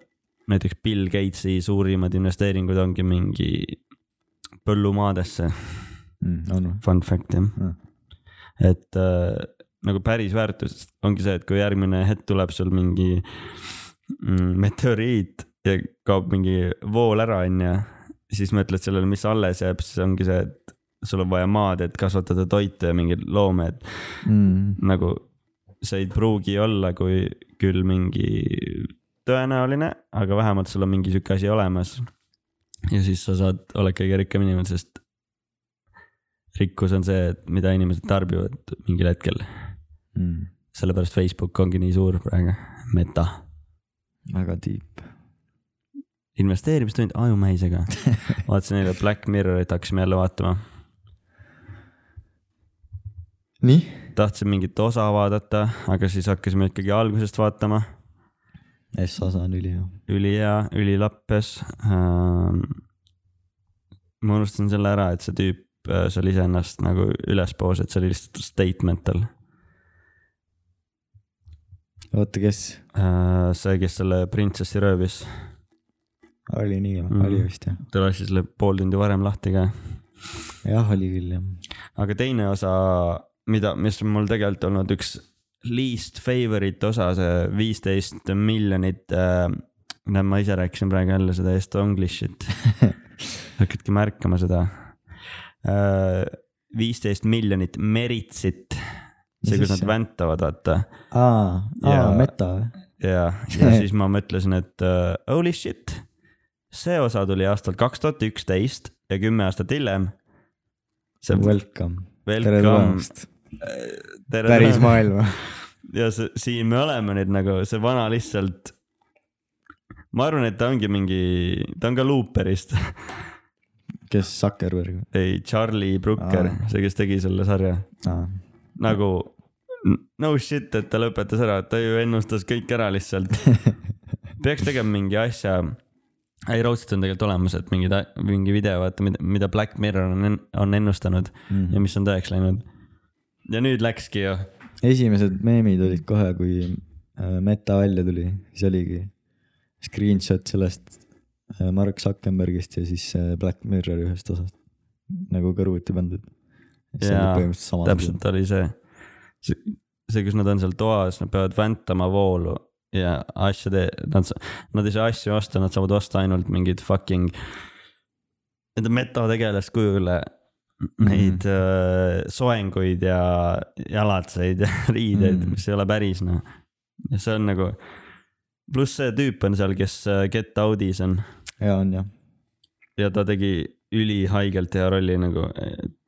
[SPEAKER 1] näiteks Bill Gatesi suurimad investeeringud ongi mingi põllumaadesse ,
[SPEAKER 2] Mm. on või ?
[SPEAKER 1] fun fact jah
[SPEAKER 2] Mm.
[SPEAKER 1] mm. . et äh, nagu päris väärtus ongi see , et kui järgmine hetk tuleb sul mingi mm, meteoriit ja kaob mingi vool ära , onju , siis mõtled sellele , mis alles jääb , siis ongi see , et sul on vaja maad , et kasvatada toitu ja mingeid loomi , et
[SPEAKER 2] Mm.
[SPEAKER 1] nagu see ei pruugi olla , kui küll mingi tõenäoline , aga vähemalt sul on mingi sihuke asi olemas . ja siis sa saad , oled kõige rikkam inimene , sest rikkus on see , et mida inimesed tarbivad mingil hetkel .
[SPEAKER 2] Mm.
[SPEAKER 1] sellepärast Facebook ongi nii suur praegu , meta .
[SPEAKER 2] väga deep .
[SPEAKER 1] investeerimistund ajumähisega . vaatasin eile Black Mirrorit , hakkasime jälle vaatama .
[SPEAKER 2] nii
[SPEAKER 1] tahtsin mingit osa vaadata , aga siis hakkasime ikkagi algusest vaatama
[SPEAKER 2] yes, , S-osa on ülihea .
[SPEAKER 1] ülihea , ülilappes ähm, . ma unustasin selle ära , et see tüüp äh, seal iseennast nagu ülespoos , et see oli lihtsalt statement tal
[SPEAKER 2] oota , kes ?
[SPEAKER 1] äh, . see , kes selle printsessi röövis
[SPEAKER 2] oli nii või
[SPEAKER 1] Mhm.
[SPEAKER 2] mm. , oli vist jah ?
[SPEAKER 1] ta lasi selle pool tundi varem lahti ka .
[SPEAKER 2] jah , oli küll jah .
[SPEAKER 1] aga teine osa , mida , mis on mul tegelikult olnud üks least favorite osa , see viisteist miljonit äh, . näed , ma ise rääkisin praegu jälle seda
[SPEAKER 2] [laughs]
[SPEAKER 1] estonglish'it . hakkadki märkama seda äh, . viisteist miljonit meritsit . see ,
[SPEAKER 2] Mis
[SPEAKER 1] kus nad
[SPEAKER 2] asja?
[SPEAKER 1] väntavad , vaata
[SPEAKER 2] aa , aa
[SPEAKER 1] Ja- ,
[SPEAKER 2] meta või ?
[SPEAKER 1] ja ,
[SPEAKER 2] [laughs]
[SPEAKER 1] ja siis ma mõtlesin , et uh, holy shit , see osa tuli aastal kaks tuhat üksteist ja kümme aastat hiljem . see on
[SPEAKER 2] Welcome . tere
[SPEAKER 1] welcome .
[SPEAKER 2] tulemast .
[SPEAKER 1] tere
[SPEAKER 2] päris . maailma .
[SPEAKER 1] ja see, siin me oleme nüüd nagu see vana lihtsalt . ma arvan , et ta ongi mingi , ta on ka Looperist ,
[SPEAKER 2] kes Zuckerberg ?
[SPEAKER 1] [laughs] ei Charlie Brooker
[SPEAKER 2] Aa. ,
[SPEAKER 1] see , kes tegi selle sarja
[SPEAKER 2] aa ,
[SPEAKER 1] nagu no shit , et ta lõpetas ära , ta ju ennustas kõik ära lihtsalt . peaks tegema mingi asja , ei Rootsit on tegelikult olemas , et mingi , mingi video , vaata , mida , mida Black Mirror on , on ennustanud
[SPEAKER 2] Mhm.
[SPEAKER 1] ja mis on tõeks läinud . ja nüüd läkski ju ,
[SPEAKER 2] esimesed meemid olid kohe , kui äh, meta välja tuli , siis oligi screenshot sellest äh, Mark Zuckerbergist ja siis äh, Black Mirror ühest osast nagu kõrvuti pandud . see
[SPEAKER 1] Jaa,
[SPEAKER 2] oli põhimõtteliselt sama .
[SPEAKER 1] täpselt oli see, see , see , kus nad on seal toas , nad peavad väntama voolu ja asjade , nad , nad ei saa asju osta , nad saavad osta ainult mingeid fucking , nende metategelaskujule neid mm -hmm. soenguid ja jalatseid ja [laughs] riideid mm ,
[SPEAKER 2] Mhm.
[SPEAKER 1] -hmm. mis ei ole päris noh . see on nagu , pluss see tüüp on seal , kes äh, Get Out'is on
[SPEAKER 2] ja on jah ,
[SPEAKER 1] ja ta tegi ülihaigelt hea rolli nagu ,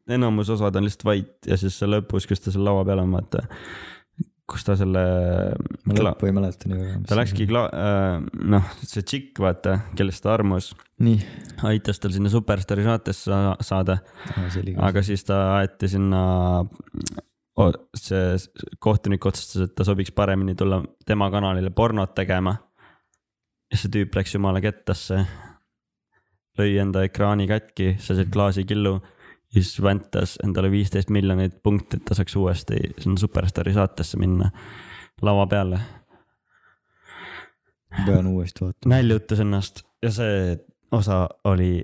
[SPEAKER 1] enamus osad on lihtsalt vait ja siis see lõpus , kus ta seal laua peal on , vaata , kus ta selle .
[SPEAKER 2] ma lõppu ei mäleta nii väga .
[SPEAKER 1] ta läkski . kla- , äh, noh , see tšikk , vaata , kellest ta armus ,
[SPEAKER 2] nii ,
[SPEAKER 1] aitas tal sinna Superstaari saatesse sa- saada ,
[SPEAKER 2] see oli ka .
[SPEAKER 1] aga siis ta aeti sinna o, see kohtunik otsustas , et ta sobiks paremini tulla tema kanalile pornot tegema . ja see tüüp läks jumala kettasse , lõi enda ekraani katki , sai sealt klaasikillu ja siis väntas endale viisteist miljonit punkti , et ta saaks uuesti sinna Superstaari saatesse minna lava peale .
[SPEAKER 2] ma pean uuesti vaatama .
[SPEAKER 1] näljutas ennast ja see osa oli ,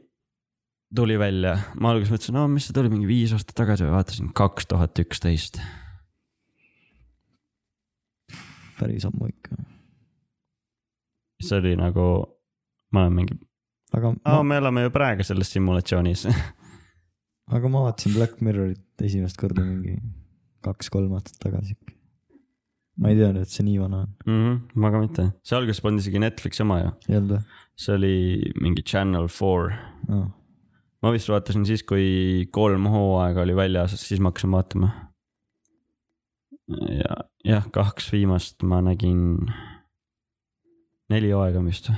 [SPEAKER 1] tuli välja , ma alguses mõtlesin , no mis see tuli mingi viis aastat tagasi või vaatasin kaks tuhat üksteist .
[SPEAKER 2] päris ammu ikka .
[SPEAKER 1] see oli nagu , ma olen mingi ,
[SPEAKER 2] aga
[SPEAKER 1] aa ,
[SPEAKER 2] ma ,
[SPEAKER 1] me elame ju praegu selles [laughs] simulatsioonis .
[SPEAKER 2] aga ma vaatasin Black Mirrorit esimest korda mingi kaks-kolm aastat tagasi ikka . ma ei teadnud , et see nii vana on .
[SPEAKER 1] Mhm, ma ka mitte , see alguses polnud isegi Netflixi oma ju ,
[SPEAKER 2] ei olnud või ?
[SPEAKER 1] see oli mingi Channel Four .
[SPEAKER 2] aa
[SPEAKER 1] ma vist vaatasin siis , kui kolm hooaega oli väljas , siis ma hakkasin vaatama . ja , jah , kaks viimast ma nägin . neli hooaega on vist või ?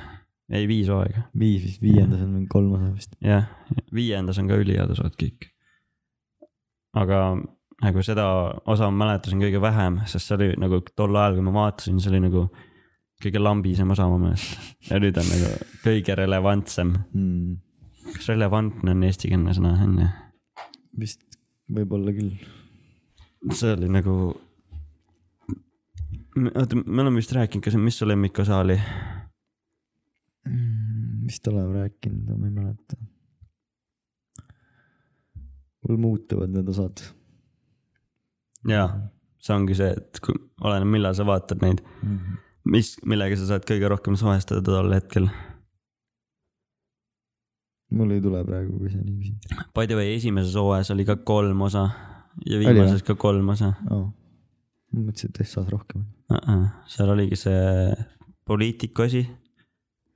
[SPEAKER 1] ei , viis hooaega ,
[SPEAKER 2] viis vist , viiendas on mingi kolm osa vist .
[SPEAKER 1] jah , viiendas on ka ülihead osad kõik . aga nagu seda osa ma mäletasin kõige vähem , sest see oli nagu tol ajal , kui ma vaatasin , see oli nagu kõige lambisem osa mu meelest . ja nüüd on nagu kõige relevantsem .
[SPEAKER 2] mm, .
[SPEAKER 1] kas relevantne on eestikeelne sõna , on ju ?
[SPEAKER 2] vist võib-olla küll .
[SPEAKER 1] see oli nagu . oota , me oleme vist rääkinud ka , mis su lemmikosa oli ?
[SPEAKER 2] Hmm, vist oleme rääkinud , ma ei mäleta . mul muutuvad need osad
[SPEAKER 1] jaa , see ongi see , et kui , oleneb millal sa vaatad neid ,
[SPEAKER 2] mm . -hmm.
[SPEAKER 1] mis , millega sa saad kõige rohkem suhestuda tol hetkel .
[SPEAKER 2] mul ei tule praegu , kui sa nii küsid
[SPEAKER 1] By the way , esimeses hooajas oli ka kolm osa ja
[SPEAKER 2] Oli,
[SPEAKER 1] viimases ka kolm osa
[SPEAKER 2] oh. . ma mõtlesin , et S-as rohkem .
[SPEAKER 1] uh . -uh. seal oligi see poliitiku asi ,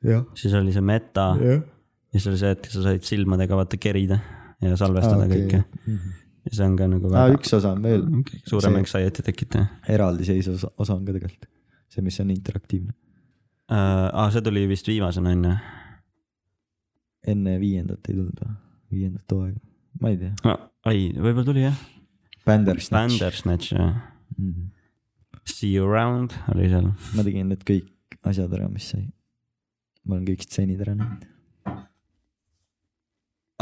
[SPEAKER 2] jah .
[SPEAKER 1] siis oli see meta ja
[SPEAKER 2] jah .
[SPEAKER 1] siis oli see , et sa said silmadega vaata kerida ja salvestada ah, okay. kõike .
[SPEAKER 2] Mhm.
[SPEAKER 1] ja see on ka nagu
[SPEAKER 2] aa ,
[SPEAKER 1] väga
[SPEAKER 2] Ah, üks osa on veel ,
[SPEAKER 1] okay. suurem
[SPEAKER 2] see-
[SPEAKER 1] anxiety tekitaja
[SPEAKER 2] eraldiseisev osa- osa on ka tegelikult . see , mis on interaktiivne .
[SPEAKER 1] uh, . aa , see tuli vist viimasena onju
[SPEAKER 2] enne viiendat ei tulnud või ? viiendat hooaega ? ma ei tea .
[SPEAKER 1] no, . ei , võib-olla tuli jah .
[SPEAKER 2] Bandersnatch .
[SPEAKER 1] Bandersnatch jah .
[SPEAKER 2] Mm -hmm.
[SPEAKER 1] See you around oli seal .
[SPEAKER 2] ma tegin need kõik asjad ära , mis sai . ma olen kõik stseenid ära näinud .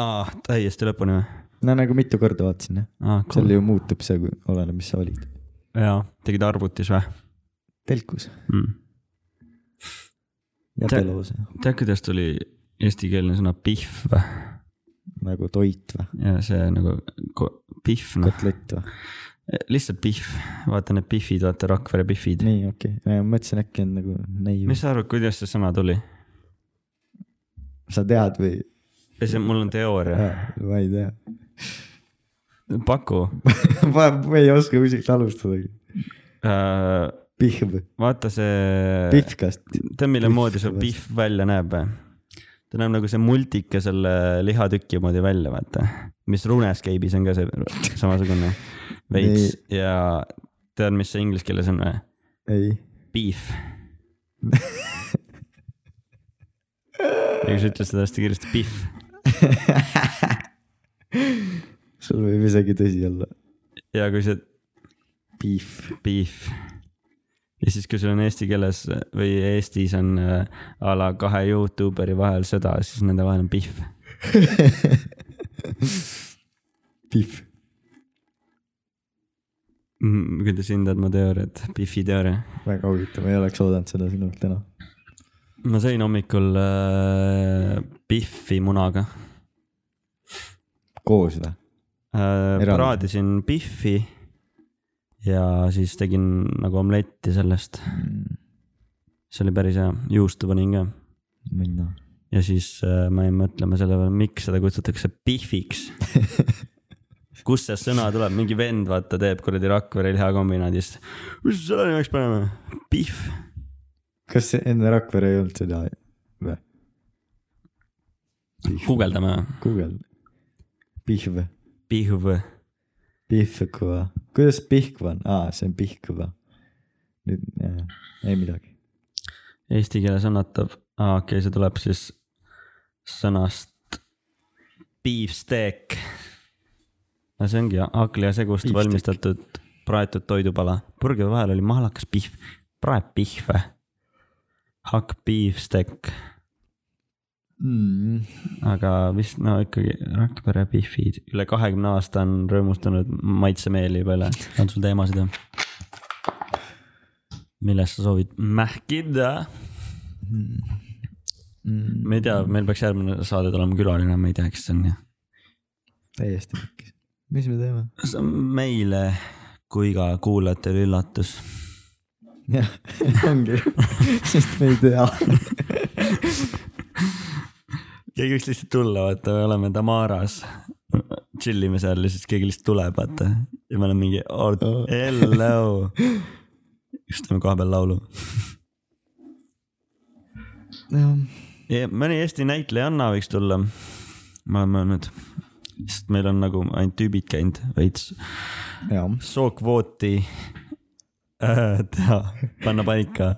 [SPEAKER 1] aa , täiesti lõpuni või ?
[SPEAKER 2] no nagu mitu korda vaatasin jah ,
[SPEAKER 1] aa ,
[SPEAKER 2] seal
[SPEAKER 1] cool .
[SPEAKER 2] ju muutub see , kui oleneb , mis sa valid .
[SPEAKER 1] jaa , tegid arvutis või
[SPEAKER 2] telkus
[SPEAKER 1] mm. ?
[SPEAKER 2] ja
[SPEAKER 1] Tä-
[SPEAKER 2] telos .
[SPEAKER 1] tead , kuidas tuli eestikeelne sõna pihv või?
[SPEAKER 2] nagu toit või ,
[SPEAKER 1] ja see nagu ko- pihv , noh ,
[SPEAKER 2] kotlett või ?
[SPEAKER 1] lihtsalt pihv , vaata need pihvid , vaata Rakvere pihvid .
[SPEAKER 2] nii , okei okay. , ma mõtlesin , äkki on nagu neiu
[SPEAKER 1] mis . sa arvad , kuidas see sõna tuli ?
[SPEAKER 2] sa tead või ?
[SPEAKER 1] ei , see , mul on teooria .
[SPEAKER 2] ma ei tea . [laughs]
[SPEAKER 1] paku
[SPEAKER 2] ma ma ei oska kuskilt alustadagi .
[SPEAKER 1] äh, ,
[SPEAKER 2] pihv ,
[SPEAKER 1] vaata see ,
[SPEAKER 2] pihvkast .
[SPEAKER 1] tead mille
[SPEAKER 2] pihv
[SPEAKER 1] moodi see
[SPEAKER 2] vast.
[SPEAKER 1] pihv välja näeb või ? ta näeb nagu see multike selle lihatüki moodi välja , vaata . mis RuneScape'is on ka see samasugune veits ja tead , mis see inglise keeles on või ?
[SPEAKER 2] ei ,
[SPEAKER 1] beef . ja kui sa ütled seda hästi kiiresti , beef ,
[SPEAKER 2] sul võib isegi tõsi olla .
[SPEAKER 1] ja kui sa ,
[SPEAKER 2] [laughs] pihv ,
[SPEAKER 1] beef . ja siis , kui sul on eesti keeles või Eestis on äh, a la kahe Youtuberi vahel sõda , siis nende vahel on beef .
[SPEAKER 2] pihv .
[SPEAKER 1] kuidas hindad mu teooriat , beef'i teooria ?
[SPEAKER 2] väga huvitav , ei oleks oodanud seda sinult täna .
[SPEAKER 1] ma sõin hommikul äh, beef'i munaga
[SPEAKER 2] koos või ?
[SPEAKER 1] äh, .
[SPEAKER 2] Eraldi.
[SPEAKER 1] praadisin beef'i ja siis tegin nagu omletti sellest , see oli päris hea , juustu panin ka
[SPEAKER 2] minna .
[SPEAKER 1] ja siis äh, ma jäin mõtlema selle peale , miks seda kutsutakse pihviks . kust see sõna tuleb , mingi vend vaata teeb kuradi Rakvere lihakombinaadist . mis me selle nimeks paneme ? pihv .
[SPEAKER 2] kas see enne Rakvere ei olnud seda või ?
[SPEAKER 1] guugeldame .
[SPEAKER 2] Google . pihv ,
[SPEAKER 1] pihv .
[SPEAKER 2] pihvkva , kuidas pihkv on , aa , see on pihkva . nüüd äh, ei midagi .
[SPEAKER 1] Eesti keeles annatab , aa okei okay, , see tuleb siis sõnast beefsteak . no see ongi hakkliha segust
[SPEAKER 2] Beefsteak.
[SPEAKER 1] valmistatud praetud toidupala . purgi vahel oli mahlakas pihv , praeb pihve . hakk beefsteak
[SPEAKER 2] Mm.
[SPEAKER 1] aga vist no ikkagi Rakvere Biffid , üle kahekümne aasta on rõõmustanud maitsemeeli peale . on sul teemasid või ? millest sa soovid mähkida ?
[SPEAKER 2] Mm.
[SPEAKER 1] me ei tea , meil peaks järgmine saade tulema külaline , ma ei tea , kes see on ja .
[SPEAKER 2] täiesti pekkis . mis me teeme ?
[SPEAKER 1] see on meile kui ka kuulajatele üllatus .
[SPEAKER 2] jah , [laughs] ongi , sest me ei [laughs] tea .
[SPEAKER 1] keegi võiks lihtsalt tulla , vaata , me oleme Tamaras . chill ime seal ja siis keegi lihtsalt tuleb , vaata . ja me oleme mingi , hello . siis teeme koha peal laulu ja mõni Eesti näitlejanna võiks tulla . ma olen mõelnud , sest meil on nagu ainult tüübid käinud veits .
[SPEAKER 2] jah ,
[SPEAKER 1] sookvooti [laughs] äh, teha , panna paika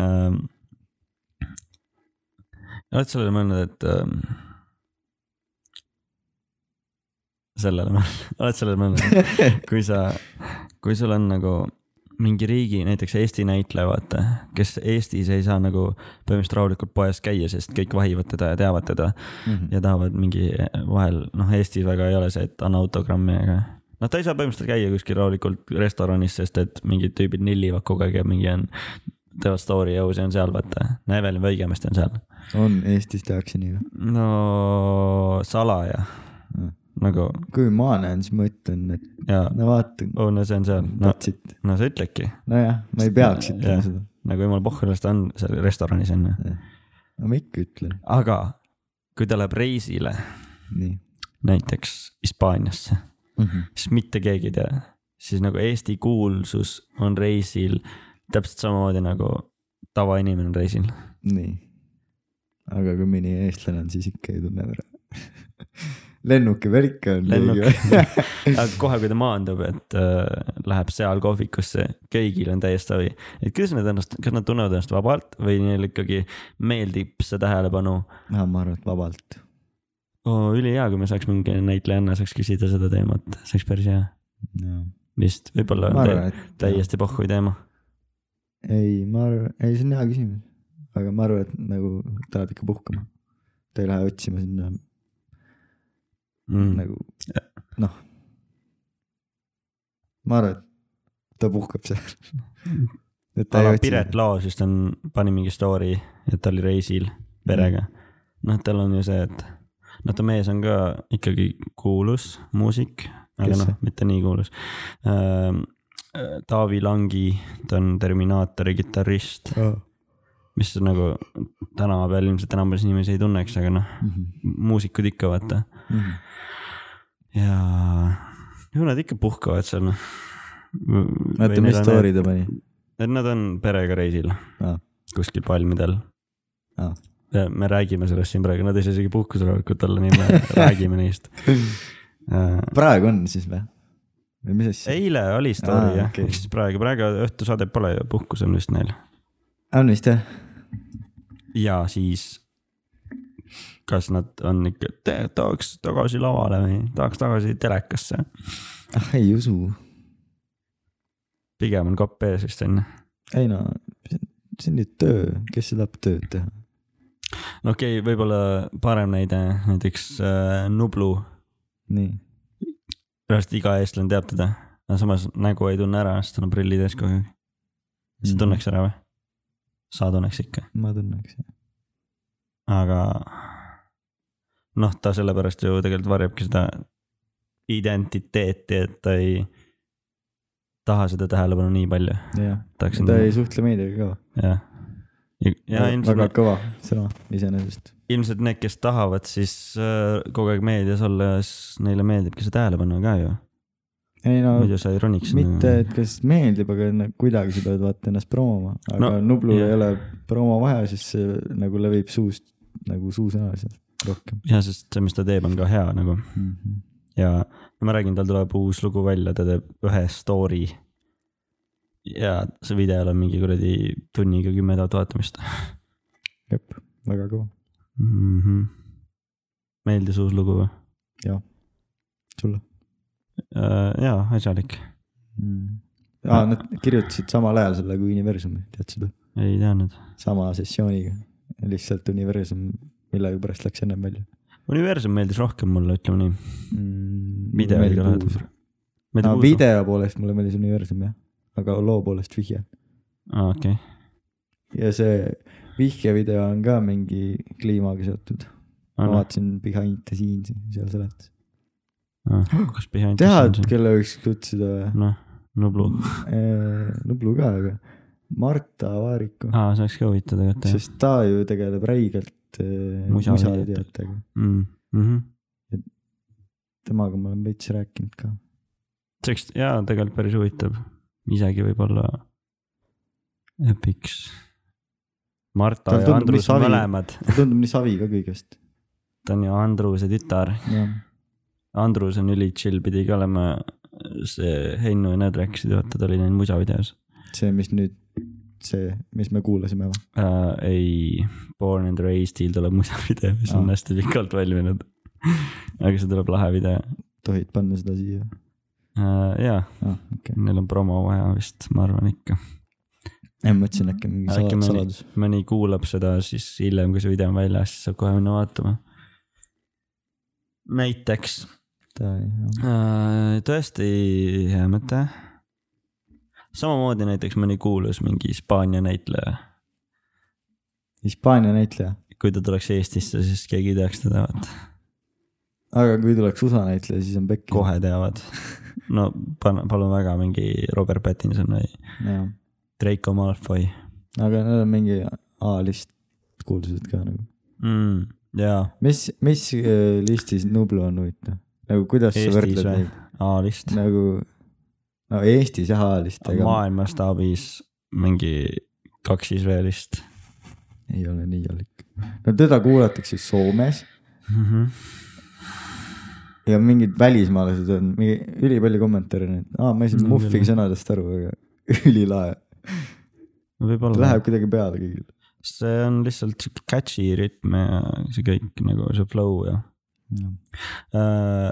[SPEAKER 1] ähm, . oled sellele mõelnud , et ähm, ? sellele mõelnud , [laughs] oled sellele mõelnud , kui sa , kui sul on nagu mingi riigi , näiteks Eesti näitleja , vaata , kes Eestis ei saa nagu põhimõtteliselt rahulikult poes käia , sest kõik vahivad teda ja teavad teda mm -hmm. ja tahavad mingi vahel , noh , Eestis väga ei ole see , et anna autogrammi , aga noh , ta ei saa põhimõtteliselt käia kuskil rahulikult restoranis , sest et mingid tüübid nillivad kogu aeg ja mingi on , teevad story ja see on seal , vaata , no Evelyn Võigemeste on seal .
[SPEAKER 2] on , Eestis tehakse nii või ?
[SPEAKER 1] no salaja nagu
[SPEAKER 2] kui ma näen , siis ma ütlen , et
[SPEAKER 1] ja
[SPEAKER 2] no vaata ,
[SPEAKER 1] oh, , no see on seal , no ,
[SPEAKER 2] that's it .
[SPEAKER 1] no sa ütledki
[SPEAKER 2] nojah , ma ei peaks ütlema
[SPEAKER 1] Jah.
[SPEAKER 2] seda .
[SPEAKER 1] nagu jumala pohhu , las ta on seal restoranis onju ,
[SPEAKER 2] aga ma ikka ütlen ,
[SPEAKER 1] aga kui ta läheb reisile
[SPEAKER 2] nii
[SPEAKER 1] näiteks Hispaaniasse ,
[SPEAKER 2] mm . -hmm.
[SPEAKER 1] siis mitte keegi ei tea , siis nagu Eesti kuulsus on reisil täpselt samamoodi nagu tavainimene on reisil .
[SPEAKER 2] nii . aga kui mõni eestlane on , siis ikka ei tunne ära . lennuki värk on .
[SPEAKER 1] Lennuk-
[SPEAKER 2] [laughs]
[SPEAKER 1] aga kohe , kui ta maandub , et äh, läheb seal kohvikusse , kõigil on täiesti avi . et kuidas nad ennast , kas nad tunnevad ennast vabalt või neil ikkagi meeldib see tähelepanu
[SPEAKER 2] no Noh, ma arvan , et vabalt .
[SPEAKER 1] oh, . ülihea , kui me saaks mingi näitlejanna saaks küsida seda teemat , see oleks päris hea .
[SPEAKER 2] ma
[SPEAKER 1] vist , võib-olla on
[SPEAKER 2] arvan ,
[SPEAKER 1] tä
[SPEAKER 2] et .
[SPEAKER 1] täiesti pohhui teema .
[SPEAKER 2] ei , ma arvan , ei see on hea küsimus . aga ma arvan , et nagu ta läheb ikka puhkama . ta ei lähe otsima sinna
[SPEAKER 1] Mm.
[SPEAKER 2] nagu noh . ma arvan , et ta puhkab
[SPEAKER 1] [laughs]
[SPEAKER 2] seal . et
[SPEAKER 1] ala Piret Laos vist on , pani mingi story , et ta oli reisil perega .
[SPEAKER 2] Mhm.
[SPEAKER 1] noh , tal on ju see , et noh , ta mees on ka ikkagi kuulus muusik , aga
[SPEAKER 2] Kes
[SPEAKER 1] noh
[SPEAKER 2] see? ,
[SPEAKER 1] mitte nii kuulus . Taavi Langi , ta on Terminaatori kitarrist , mis nagu tänapäeval ilmselt enam päris inimesi ei tunneks , aga noh ,
[SPEAKER 2] Mhm.
[SPEAKER 1] muusikud ikka vaata ja ju nad ikka puhkavad seal noh .
[SPEAKER 2] oota , mis story ta pani ?
[SPEAKER 1] [laughs] Nad on perega reisil
[SPEAKER 2] Aa.
[SPEAKER 1] kuskil palmidel .
[SPEAKER 2] Aa.
[SPEAKER 1] me räägime sellest siin praegu , nad ei saa isegi puhkuselolekut olla , nii
[SPEAKER 2] [laughs]
[SPEAKER 1] me räägime neist .
[SPEAKER 2] praegu on siis või ? või mis asja ?
[SPEAKER 1] eile oli
[SPEAKER 2] Aa,
[SPEAKER 1] story jah ,
[SPEAKER 2] okei.
[SPEAKER 1] ehk siis praegu , praegu õhtusaadet pole ju , puhkus on vist neil .
[SPEAKER 2] Ah, on vist jah ?
[SPEAKER 1] ja siis , kas nad on ikka , tahaks tagasi lavale või tahaks tagasi telekasse ,
[SPEAKER 2] ah ei usu .
[SPEAKER 1] pigem on kopp ees vist onju .
[SPEAKER 2] ei no , see on ju töö , kes see tahab tööd teha ?
[SPEAKER 1] no okei okay, , võib-olla parem näide näiteks äh, Nublu ,
[SPEAKER 2] nii ,
[SPEAKER 1] pärast iga eestlane teab teda , aga samas nägu ei tunne ära , sest tal on prillid ees kogu aeg . sa
[SPEAKER 2] Mhm.
[SPEAKER 1] tunneks ära või ? sa tunneks ikka ,
[SPEAKER 2] ma tunneks .
[SPEAKER 1] aga noh , ta sellepärast ju tegelikult varjabki seda identiteeti , et ta ei taha seda tähelepanu nii palju ,
[SPEAKER 2] jah ,
[SPEAKER 1] tahaksin
[SPEAKER 2] ta ei suhtle meediaga ka .
[SPEAKER 1] jah . ja
[SPEAKER 2] väga
[SPEAKER 1] ilmselt ,
[SPEAKER 2] kõva sõna iseenesest .
[SPEAKER 1] ilmselt need , kes tahavad siis äh, kogu aeg meedias olla , siis neile meeldibki see tähelepanu ka ju
[SPEAKER 2] ei no
[SPEAKER 1] muidu sa ei roniks .
[SPEAKER 2] mitte , et kas meeldib , aga no kuidagi sa pead vaata ennast promoma , aga no,
[SPEAKER 1] No,
[SPEAKER 2] Nublul
[SPEAKER 1] jah.
[SPEAKER 2] ei ole promo vaja , sest see nagu levib suust nagu suusõnas rohkem
[SPEAKER 1] ja sest see , mis ta teeb , on ka hea nagu
[SPEAKER 2] mm . -hmm.
[SPEAKER 1] ja no ma räägin , tal tuleb uus lugu välja , ta teeb ühe story . ja see videol on mingi kuradi tunniga kümme tuhat vaatamist
[SPEAKER 2] jep , väga kõva ,
[SPEAKER 1] mm . -hmm. meeldis uus lugu või ?
[SPEAKER 2] sulle
[SPEAKER 1] Äh, jaa , asjalik ,
[SPEAKER 2] mm. . aa , nad kirjutasid samal ajal selle kui Universumi , tead seda ,
[SPEAKER 1] ei teadnud .
[SPEAKER 2] sama sessiooniga , lihtsalt Universum millegipärast läks ennem välja
[SPEAKER 1] universum meeldis rohkem mulle , ütleme nii .
[SPEAKER 2] mm, .
[SPEAKER 1] Video oli ka lahedam.
[SPEAKER 2] no, . video poolest mulle meeldis Universum jah , aga loo poolest vihje .
[SPEAKER 1] aa , okei ,
[SPEAKER 2] ja see vihjevideo on ka mingi kliimaga seotud . ma
[SPEAKER 1] anna .
[SPEAKER 2] vaatasin Behind the Scenes'i , seal seletas .
[SPEAKER 1] kas behind the
[SPEAKER 2] tead ,
[SPEAKER 1] scenes on ?
[SPEAKER 2] kelle võiks kutsuda või ?
[SPEAKER 1] noh , Nublu ,
[SPEAKER 2] Nublu ka , aga Marta Vaariku ,
[SPEAKER 1] aa , see oleks ka huvitav tegelikult Ah, jah
[SPEAKER 2] sest ta ju tegeleb räigelt eh,
[SPEAKER 1] Musa-
[SPEAKER 2] musateatega .
[SPEAKER 1] mm . -hmm.
[SPEAKER 2] temaga ma olen veits rääkinud ka .
[SPEAKER 1] see oleks jaa , tegelikult päris huvitav , isegi võib-olla epiks . Marta
[SPEAKER 2] Tal
[SPEAKER 1] ja
[SPEAKER 2] tundub,
[SPEAKER 1] Andrus
[SPEAKER 2] mis
[SPEAKER 1] on
[SPEAKER 2] savi.
[SPEAKER 1] mõlemad ,
[SPEAKER 2] ta tundub nii savi ka kõigest .
[SPEAKER 1] ta on ju Andruse tütar ,
[SPEAKER 2] jah ,
[SPEAKER 1] Andrus on üli chill , pidi ka olema see Heinu ja need rääkisid , vaata ta oli neil musavideos
[SPEAKER 2] see , mis nüüd , see , mis me kuulasime või ?
[SPEAKER 1] uh, . ei , Born and Raised'il tuleb musavideo , mis on
[SPEAKER 2] Aa.
[SPEAKER 1] hästi pikalt valminud . [laughs] aga see tuleb lahe video
[SPEAKER 2] tohid panna seda siia ?
[SPEAKER 1] uh, . jaa ,
[SPEAKER 2] aa , okei .
[SPEAKER 1] neil on promo vaja vist , ma arvan ikka .
[SPEAKER 2] ma mõtlesin äkki mingi
[SPEAKER 1] äkki
[SPEAKER 2] sala-
[SPEAKER 1] mõni
[SPEAKER 2] saladus .,
[SPEAKER 1] mõni kuulab seda siis hiljem , kui see video on väljas , siis saab kohe minna vaatama . näiteks äh, tõesti hea mõte . samamoodi näiteks mõni kuulus mingi Hispaania näitleja ,
[SPEAKER 2] Hispaania näitleja ,
[SPEAKER 1] kui ta tuleks Eestisse , siis keegi ei teaks teda , vaata ,
[SPEAKER 2] aga kui tuleks USA näitleja , siis on pekki .
[SPEAKER 1] kohe teavad . no pan- , palun väga mingi Robert Pattinson või
[SPEAKER 2] jah ,
[SPEAKER 1] Draco Malfoy
[SPEAKER 2] aga need on mingi A-list kuulsused ka nagu .
[SPEAKER 1] mm, . jaa ,
[SPEAKER 2] mis , mis äh, listis Nublu on huvitav ? nagu kuidas sa
[SPEAKER 1] Eestis
[SPEAKER 2] võrdled
[SPEAKER 1] või?
[SPEAKER 2] neid
[SPEAKER 1] A-list ,
[SPEAKER 2] nagu , no Eestis jah A-list , aga Ma...
[SPEAKER 1] maailma staabis mingi kaks Iisraelist
[SPEAKER 2] ei ole nii hallik . no teda kuulatakse Soomes
[SPEAKER 1] mm . -hmm.
[SPEAKER 2] ja mingid välismaalased on , mingi ülipalju kommentaare on , et aa , ma ei saanud
[SPEAKER 1] Mm,
[SPEAKER 2] Muffiga sõnadest aru , aga [laughs] ülilae ,
[SPEAKER 1] võib-olla
[SPEAKER 2] läheb kuidagi peale kõigil
[SPEAKER 1] see on lihtsalt sihuke catchy rütm ja see kõik nagu see flow ja
[SPEAKER 2] no. .
[SPEAKER 1] äh, .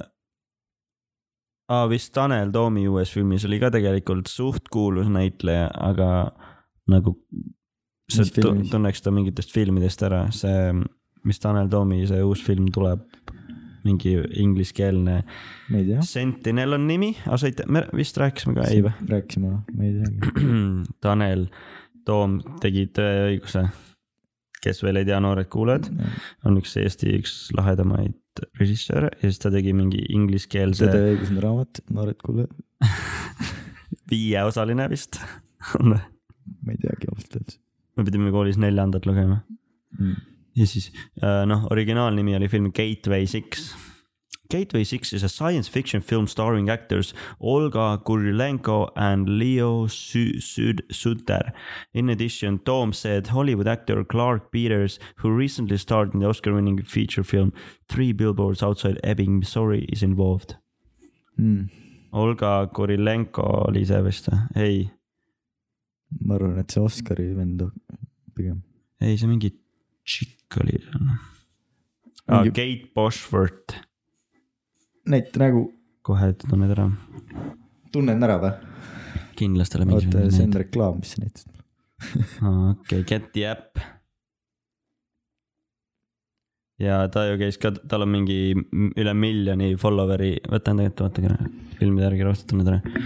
[SPEAKER 1] Ah, vist Tanel Toomi uues filmis oli ka tegelikult suht kuulus näitleja , aga nagu sa
[SPEAKER 2] Mis
[SPEAKER 1] tu-
[SPEAKER 2] filmis?
[SPEAKER 1] tunneks ta mingitest filmidest ära , see , mis Tanel Toomi see uus film tuleb , mingi ingliskeelne .
[SPEAKER 2] ma ei tea .
[SPEAKER 1] Sentinel on nimi , asait- , me vist rääkisime ka , ei või ?
[SPEAKER 2] noh,
[SPEAKER 1] [clears throat]
[SPEAKER 2] rääkisime , ma ei teagi .
[SPEAKER 1] Tanel Toom tegi Tõe ja äh, õiguse kes veel ei tea , noored kuulajad , on üks Eesti üks lahedamaid režissööre ja siis ta tegi mingi ingliskeelse
[SPEAKER 2] Tõde ja õigus on raamat , noored kuulajad ,
[SPEAKER 1] viieosaline vist [laughs] on või ?
[SPEAKER 2] ma ei teagi ausalt öeldes
[SPEAKER 1] me pidime koolis neljandat lugema
[SPEAKER 2] mm. .
[SPEAKER 1] ja siis äh, noh , originaalnimi oli film Gateway Six . Gateway Six is a science fiction film starring actors Olga Kurilenko and Leo Su- Sud- Suter. In addition, Tom said Hollywood actor Clark Peters, who recently starred in the Oscar-winning feature film Three Billboards Outside Ebbing, Missouri, is involved.
[SPEAKER 2] Mm.
[SPEAKER 1] Olga Kurilenko oli see vist või ? ei ,
[SPEAKER 2] ma arvan , et see Oscari vend on- pigem .
[SPEAKER 1] ei see mingi tšikk oli ah, .
[SPEAKER 2] Mingi-
[SPEAKER 1] Kate Bosworth ,
[SPEAKER 2] näita nägu ,
[SPEAKER 1] kohe ütleme need ära
[SPEAKER 2] tunnen nagu, ära või ?
[SPEAKER 1] kindlastele
[SPEAKER 2] oota , see on
[SPEAKER 1] mingisugune .
[SPEAKER 2] reklaam , mis sa näitasid .
[SPEAKER 1] Ah, okei , Get the app . ja ta ju käis ka , tal on mingi m- üle miljoni follower'i , võta enda kätte , vaata korra , filmide järgi roostetame täna .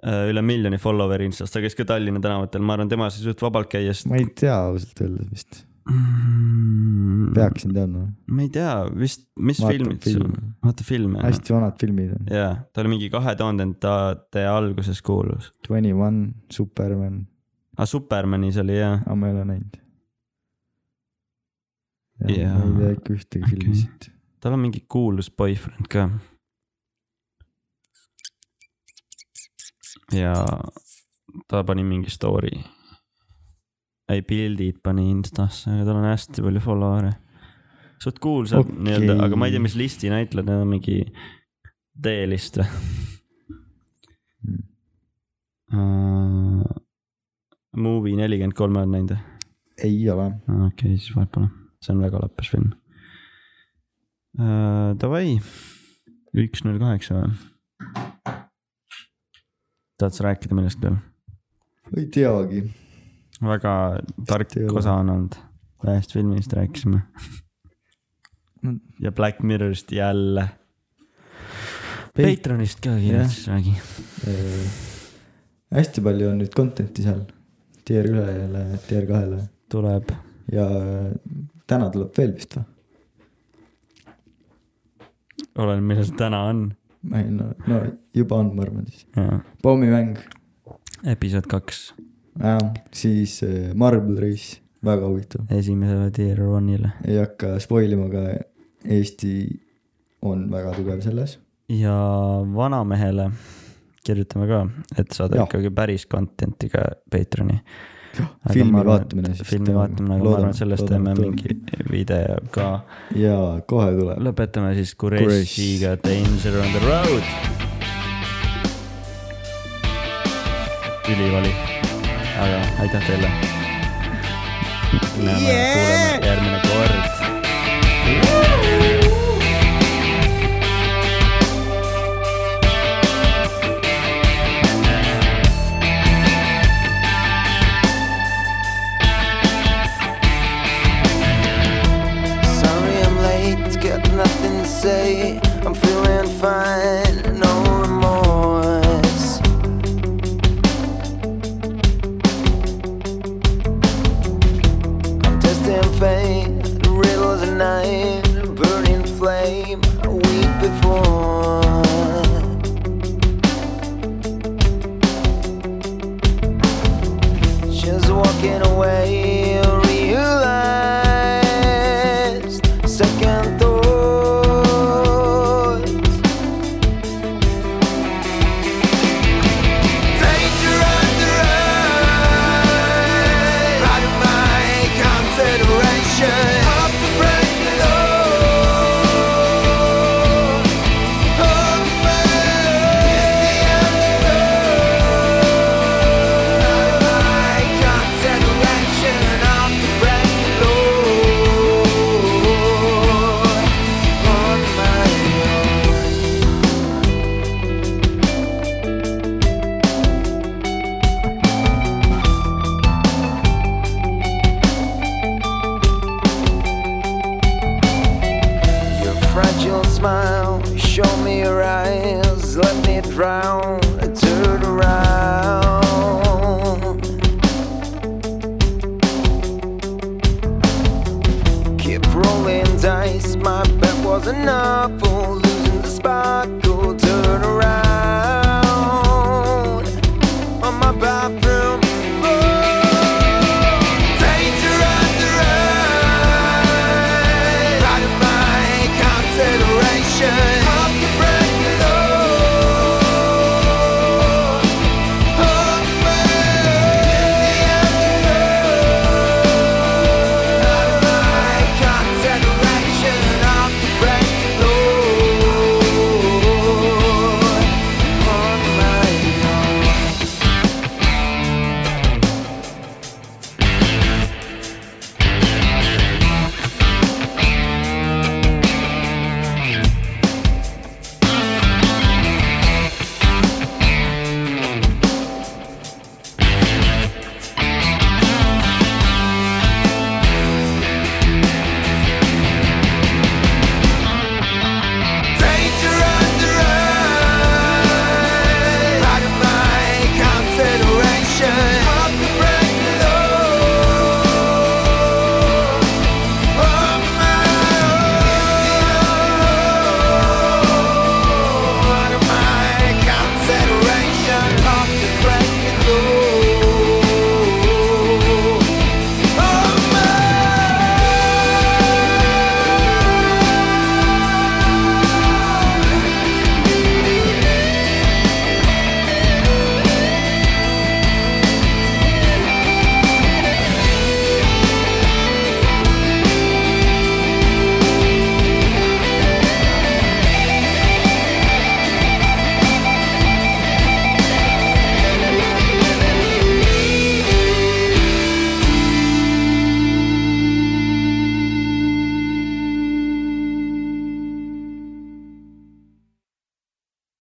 [SPEAKER 1] Äh, üle miljoni follower'i Instas , ta käis ka Tallinna tänavatel , ma arvan , tema sai suht vabalt käia , sest .
[SPEAKER 2] ma ei tea ausalt öeldes vist ,
[SPEAKER 1] Mm. peaks .
[SPEAKER 2] peaksin teadma .
[SPEAKER 1] ma ei tea , vist , mis
[SPEAKER 2] Mm-hmm. Vaata
[SPEAKER 1] filmid sul
[SPEAKER 2] filme. ,
[SPEAKER 1] vaata filme .
[SPEAKER 2] hästi vanad filmid on .
[SPEAKER 1] jaa , ta oli mingi kahe tuhandendate alguses kuulus .
[SPEAKER 2] Twenty One , Superman ,
[SPEAKER 1] aga Supermanis oli jaa .
[SPEAKER 2] aga ma ei ole näinud .
[SPEAKER 1] Jaa.
[SPEAKER 2] ma ei tea ikka
[SPEAKER 1] Okei.
[SPEAKER 2] ühtegi okay. filmi siit .
[SPEAKER 1] tal on mingi kuulus boyfriend ka . ja ta pani mingi story . ei , pildid pani Instasse , aga tal on hästi palju follower'e . suht kuulsad okay.
[SPEAKER 2] Okei.
[SPEAKER 1] nii-öelda , aga ma ei tea , mis listi näitlejad , need on mingi D-list või
[SPEAKER 2] Mm.
[SPEAKER 1] uh, ? Movie nelikümmend kolme on näinud või ?
[SPEAKER 2] ei ole ,
[SPEAKER 1] okei okay, , siis vahet pole , see on väga lappes film uh, . Davai , üks null kaheksa või ? tahad sa rääkida millestki veel ?
[SPEAKER 2] ei teagi .
[SPEAKER 1] väga tark
[SPEAKER 2] ei ole.
[SPEAKER 1] osa on olnud , ühest filmist rääkisime
[SPEAKER 2] No. .
[SPEAKER 1] ja Black Mirrorist jälle .
[SPEAKER 2] Peit-
[SPEAKER 1] Patronist ka kindlasti yeah. räägi .
[SPEAKER 2] Äh, hästi palju on nüüd content'i seal , tier ühele , tier kahele
[SPEAKER 1] tuleb ,
[SPEAKER 2] ja äh, täna tuleb veel vist või ?
[SPEAKER 1] oleneb millal see täna on .
[SPEAKER 2] ei no , no juba on , ma arvan siis . pommimäng ,
[SPEAKER 1] episood kaks ,
[SPEAKER 2] siis äh, Marble Race , väga huvitav .
[SPEAKER 1] esimesele Dear Ronile
[SPEAKER 2] ei hakka spoil ima , aga Eesti on väga tugev selles .
[SPEAKER 1] ja vanamehele kirjutame ka , et saada ja.
[SPEAKER 2] Jah.
[SPEAKER 1] ikkagi päris content'i ka Patreoni .
[SPEAKER 2] filmi vaatamine siis
[SPEAKER 1] filmi
[SPEAKER 2] teeme.
[SPEAKER 1] vaatamine , aga ma
[SPEAKER 2] Loodame-
[SPEAKER 1] arvan , et sellest
[SPEAKER 2] loodame,
[SPEAKER 1] teeme
[SPEAKER 2] et
[SPEAKER 1] mingi video ka .
[SPEAKER 2] ja kohe tuleb .
[SPEAKER 1] lõpetame siis Kurešiga Danger on the road . ülivali , aga aitäh teile . näeme yeah! , kuuleme järgmine kord .
[SPEAKER 3] Sorry I'm late, got nothing to say. I'm feeling fine, no remorse. I'm testing fate, the riddle of the night, burning flame, a week before. Just walking away, realized second thoughts. Danger on the road, out of my consideration. Up to break the law. Of Your fragile smile, show me your eyes, let me drown, turn around. twice. My bet was an awful, losing the sparkle.